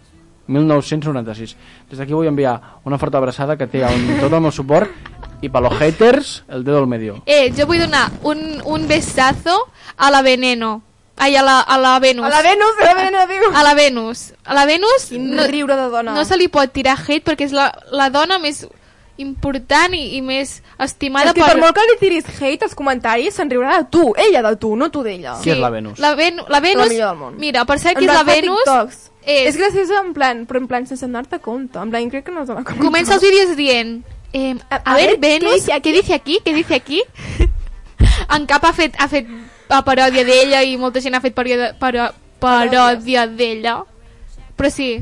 E: 1996. Des d'aquí vull enviar una forta abraçada que té un, tot el meu suport i per los haters, el dedo al medio.
D: Eh, jo vull donar un, un besazo a la Veneno. Ai, a la, a la Venus.
F: A la Venus, a la Venus, diu.
D: A la Venus. A la Venus
F: Quin no, riure de dona.
D: no se li pot tirar hate perquè és la, la dona més important i, i més estimada
F: És que per molt que li tiris hate als comentaris, se'n riurà de tu, ella de tu, no tu d'ella.
E: Qui és la Venus?
D: La, Ven la Venus...
F: La millor del món.
D: Mira, per cert,
F: En
D: qui és
F: plan,
D: la
F: fa
D: Venus...
F: TikToks.
D: És,
F: És graciosa en plan, però en plan sense anar-te compte. En plan, crec que no es dona compte.
D: Comença els vídeos dient... Eh, a,
F: A
D: ver,
F: ver,
D: Venus,
F: ¿qué
D: <laughs>
F: dice
D: ¿qué dice aquí? ¿Qué dice aquí? en cap ha fet, ha fet eh, paròdia d'ella i molta gent ha fet paròdia, parò, paròdia d'ella. Però sí.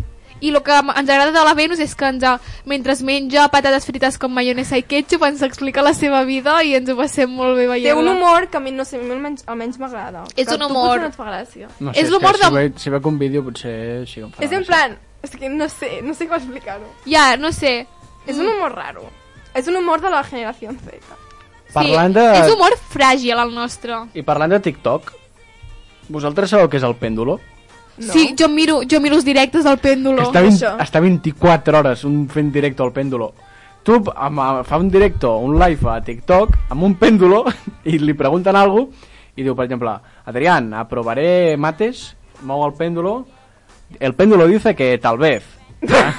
D: I el que m- ens agrada de la Venus és que ens, ha- mentre menja patates frites com mayonesa i ketchup ens explica la seva vida i ens ho passem molt bé veient
F: Té un humor que a mi no sé, a mi almenys, almenys m'agrada.
D: És
F: Que
D: un
F: a tu
D: humor.
F: potser No et fa gràcia.
E: No
D: És l'humor
E: que si
D: de-
E: ve- Si veig un vídeo potser sí que em fa
F: és en
E: gràcia.
F: plan, és que no sé, no sé com explicar-ho.
D: Ja, no sé.
F: És
D: Mm.
F: un humor raro. És un humor de la generació Z.
E: Parlant de-
D: És humor fràgil, el nostre.
E: I parlant de TikTok, vosaltres sabeu què és el pèndulo?
D: No. Sí, jo miro, jo miro els directes del pèndulo.
E: Està, 20,
F: això.
E: està 24 hores un fent directe al pèndulo. Tu amb, amb, fa un directo, un live a TikTok amb un pèndulo <laughs> i li pregunten alguna cosa i diu, per exemple, Adrián, aprovaré mates, mou el pèndulo, el pèndulo dice que tal <laughs> vez. Ah,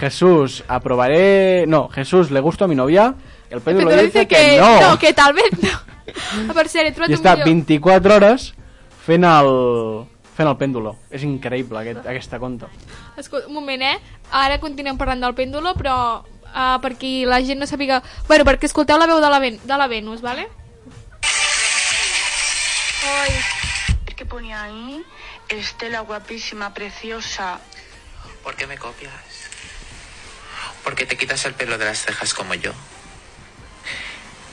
E: Jesús, aprobaré... No, Jesús, le gusto a mi novia, el pèndulo,
D: Pero
E: dice, que, no.
D: No, que tal vez no. <laughs> Per ser, he trobat
E: I
D: un
E: està
D: vídeo.
E: 24 hores fent el, fent el pèndulo. És increïble aquest, aquesta conta.
D: Escolta, un moment, eh? Ara continuem parlant del pèndulo, però uh, perquè la gent no sàpiga... Bueno, perquè escolteu la veu de la, Ven de la Venus, vale?
H: que pone ahí? Estela guapísima, preciosa.
I: ¿Por qué me copias? Porque te quitas el pelo de las cejas como yo.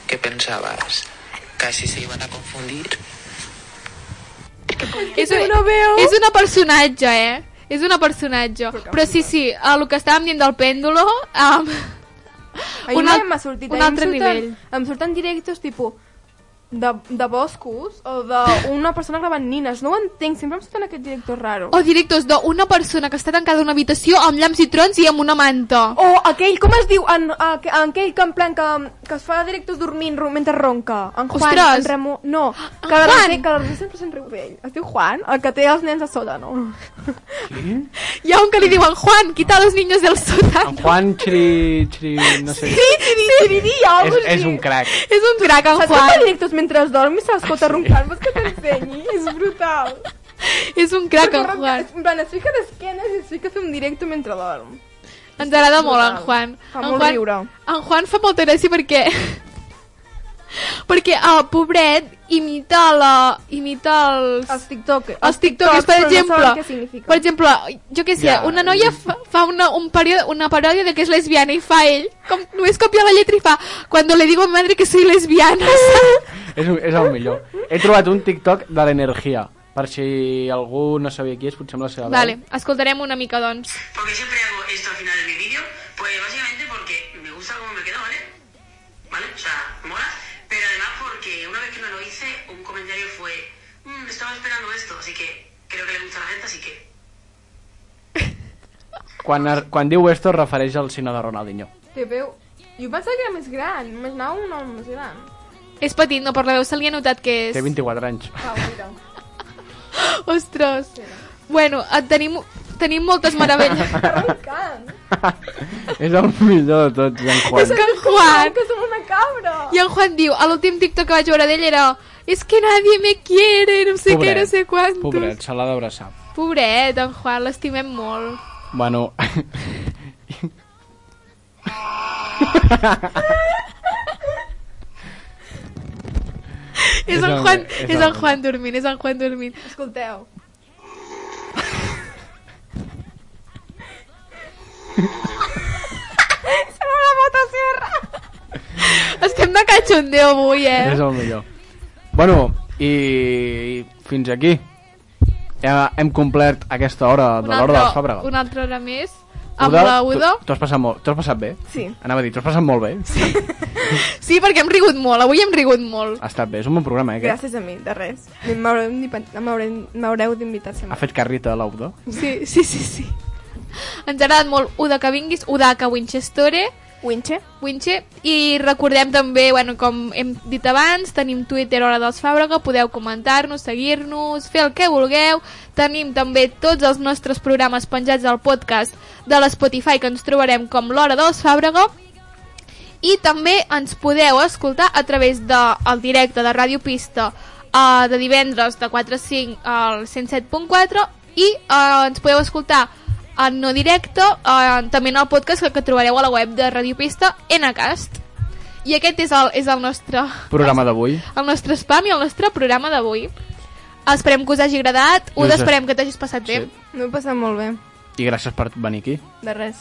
I: ¿Qué pensabas? ¿Casi se iban a confundir?
D: És, un, és una personatge, eh? És una personatge. Però sí, sí, el que estàvem dient del pèndulo... Um, Un
F: Ahir un,
D: al-
F: m'ha sortit, eh?
D: un
F: ahir em
D: altre
F: surten-
D: nivell.
F: Em surten directes tipus de, de boscos o d'una persona gravant nines. No ho entenc, sempre em surten aquest director raro.
D: o directos d'una persona que està tancada en una habitació amb llamps i trons i amb una manta.
F: O aquell, com es diu? En, aqu- en aquell que en plan que, que es fa directes dormint ro- mentre ronca. En Juan,
D: Ostres!
F: en Ramon... No,
D: En
F: que la
D: Juan!
F: Roser- que la Roser sempre se'n riu d'ell. Es diu Juan, el que té els nens a sota, <laughs> no?
D: Hi ha un que li diuen, Juan, quita los niños del
E: En
D: sótano.
E: Juan Chiri... Chiri no sé.
F: Tiriri, algo
E: És,
F: així.
E: és un crack.
D: És un crac, en
F: Saps que fa
D: Juan.
F: directes mentre es dorm i se l'escolta roncant? Vols que t'ensenyi? És brutal.
D: És un crac,
F: Perquè
D: en
F: ronca-
D: Juan.
F: En plan, es fica d'esquenes i es fica a fer un directe mentre dorm.
D: Ens agrada molt en
F: brutal.
D: Juan.
F: Fa
D: en
F: molt
D: Juan,
F: riure.
D: En Juan fa molta gràcia perquè... perquè el ah, pobret imita, la, imita els...
F: Els TikTok.
D: els TikTokers, per
F: però No
D: exemple,
F: saben què significa.
D: per exemple, jo què sé,
E: Ja.
D: una noia fa, fa una, un període, una paròdia de que és lesbiana i fa ell, com només copia la lletra i fa cuando le digo a mi madre que soy lesbiana, <laughs> saps?
E: És, un- és el millor. He trobat un TikTok de l'energia. Per si algú no sabia qui és, potser amb la seva veu.
D: Vale, escoltarem una mica, doncs.
J: Porque siempre hago esto al final de mi vídeo, pues básicamente porque me gusta cómo me queda, ¿vale? ¿Vale? O sea, mola. Pero además porque una vez que me lo hice, un comentario fue, "Mm, estaba esperando esto, así que creo que le gusta a la gente, así que...
E: Quan, ar- quan diu esto es refereix al cine de Ronaldinho.
F: Té veu... Jo pensava que era més gran, m'imaginava un home més gran.
D: És petit, no, per la veu se li ha notat que és...
E: Té
D: <laughs>
E: 24 anys.
F: Ah, mira.
D: Ostres. Bueno, et tenim, tenim moltes meravelles.
F: Roncant.
E: és el millor de tots, en
D: és
E: Juan.
D: que en Juan...
F: Que som una cabra.
D: I en Juan diu, a l'últim TikTok que vaig veure d'ell era és que nadie me quiere, no sé què, no sé quantos.
E: Pobret, se l'ha d'abraçar.
D: Pobret, en Juan, l'estimem molt. <laughs>
E: Bueno...
D: És,
E: És
D: en
E: el-
D: Juan,
E: és
D: és
E: el-
D: en Juan dormint, és en Juan dormint. <laughs>
F: Escolteu. Sembla una motosierra.
D: Estem de cachondeo avui,
E: És
D: eh?
E: el millor. Bueno, i, i fins aquí. Ja hem complert aquesta hora de l'hora de la Fàbrega.
D: una altra hora més. Amb la Udo.
E: tu- T'ho has passat molt, t'ho has passat bé?
F: Sí.
E: Anava a dir, t'ho has passat molt bé? Sí.
D: Sí, perquè hem rigut molt, avui hem rigut molt.
E: Ha estat bé, és un bon programa, eh, aquest.
F: Gràcies a mi, de res. M'haureu d'invitar- m'haureu- M'haureu d'invitar
E: Ha
F: sempre.
E: fet carrita a l'Udo.
D: Sí, sí, sí, sí.
E: Ah.
D: Ens ha agradat molt Uda que vinguis, Uda que Winchestore.
F: Winche?
D: Winche. I recordem també, bueno, com hem dit abans, tenim Twitter Hora dels Fàbrega, podeu comentar-nos, seguir-nos, fer el que vulgueu. Tenim també tots els nostres programes penjats al podcast de l'Spotify, que ens trobarem com l'Hora dels Fàbrega. I també ens podeu escoltar a través del el directe de Ràdio Pista eh, de divendres de 4 a 5 al 107.4 i eh, ens podeu escoltar en no directe, eh, també en el podcast que, que trobareu a la web de Ràdio Pista, Ncast. I aquest és el, és el nostre
E: Programa d'avui.
D: el nostre spam i el nostre programa d'avui. Esperem que us hagi agradat,
E: I
D: us
E: us-
D: esperem que t'hagis passat bé.
F: M'ho he passat molt bé,
E: I gràcies per venir aquí.
F: de res.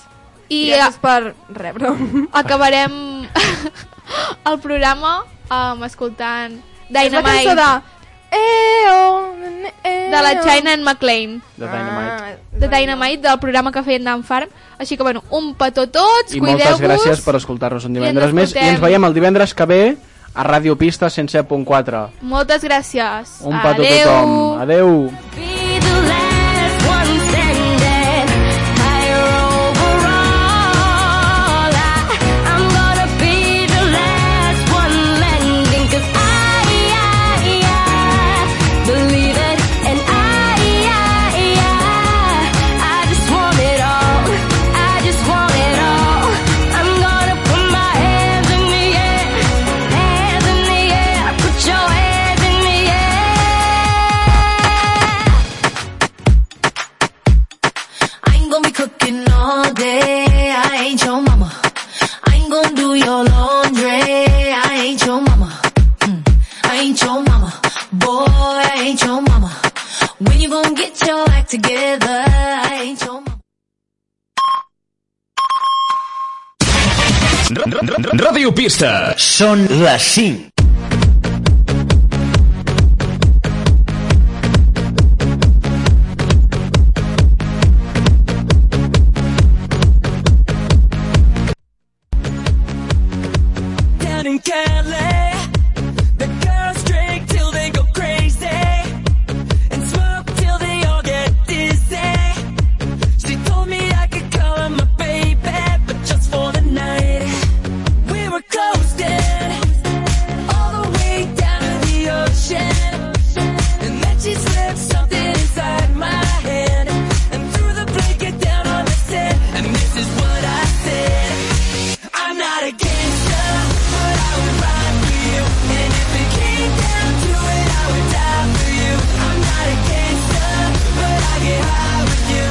D: I
F: I gràcies per rebre'm.
D: eh, acabarem <laughs> el programa um, escoltant
F: És la
D: Dynamite
F: cançó de...
D: de...
F: Eo, eo. Ah,
D: de la China and McLean.
E: De Dynamite.
D: De Dynamite, del programa que feien d'en Farm. Així que, bueno, un petó a tots,
E: I moltes
D: cuideu-vos.
E: gràcies per escoltar-nos un
D: I
E: divendres
D: ens
E: més. I ens
D: escoltem.
E: veiem el divendres que ve a Radio Pista 107.4.
D: Moltes gràcies.
E: Un petó a
D: Adeu.
E: tothom. Adeu.
C: Be the last one standing, higher over all. I- I'm gonna be the last one landing, 'cause I, I, I believe it, and I, I, I, I just want it all. I just want it all. I'm gonna put my hands in the air, hands in the air. Put your hands in the air.
A: I ain't gonna be cooking all day. I ain't your mama. I ain't gonna do your laundry. I ain't your mama. Mm. I ain't your mama. Boy, I ain't your mama. When you gonna get your act together? I ain't your mama.
B: Radio Pista. Són les 5.
A: Down in Cali, the girls drink till they go crazy and smoke till they all get dizzy. She told me I could call her my baby, but just for the night. We were coasting all the way down to the ocean, and then she slipped something inside my hand and threw the blanket down on the sand. And this is what I said. I'm not a gangster, but I would ride for you. And if it came down to it, I would die for you. I'm not a gangster, but I get high with you.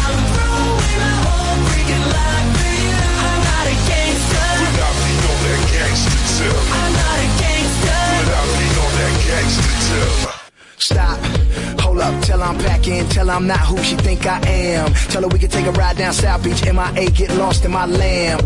A: I would throw away my whole freaking life for you. I'm not a gangster. Without me on that gangster tip. I'm not a gangster. Without me on that gangster tip.
K: Stop. Hold up, tell I'm packing, tell I'm not who she think I am. Tell her we can take a ride down South Beach, MIA, get lost in my lamb.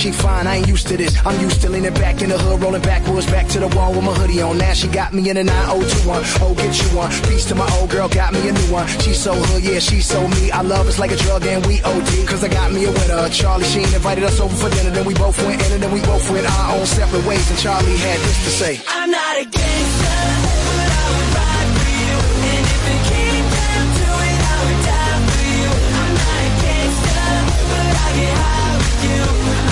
K: She fine, I ain't used to this. I'm used to leaning back in the hood, rolling backwards, back to the wall with my hoodie on. Now she got me in a 9021. Oh, get you one. Peace to my old girl, got me a new one. She so hood, yeah, she so me. I love it's like a drug and we OD. Cause I got me a winner. Charlie Sheen invited us over for dinner, then we both went in and then we both went our own separate ways. And Charlie had this to say.
A: I'm not a gangster, but I would ride for you. And if it came down to it, I would die for you. I'm not a gangster, but I get high with you.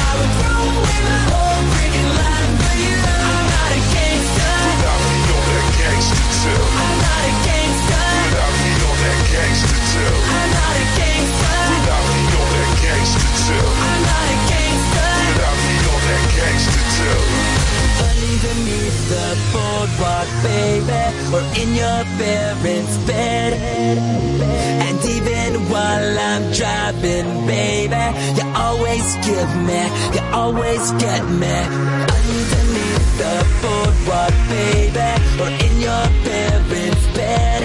A: I would throw away my whole freaking life for you. I'm not a gangster. Without me on that gangster tip. I'm not a gangster. Without me on that gangster tip. I'm not a gangster. Without me on that gangster tip. I'm not a gangster. Without me on that gangster tip. Underneath the boardwalk, baby, or in your parents' bed. And even while I'm driving, baby, you always give me, you always get me. Underneath the boardwalk, baby, or in your parents' bed.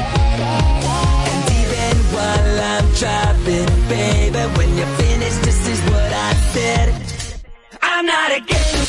A: And even while I'm driving, baby, when you're finished, this is what I said. I'm not a gangster.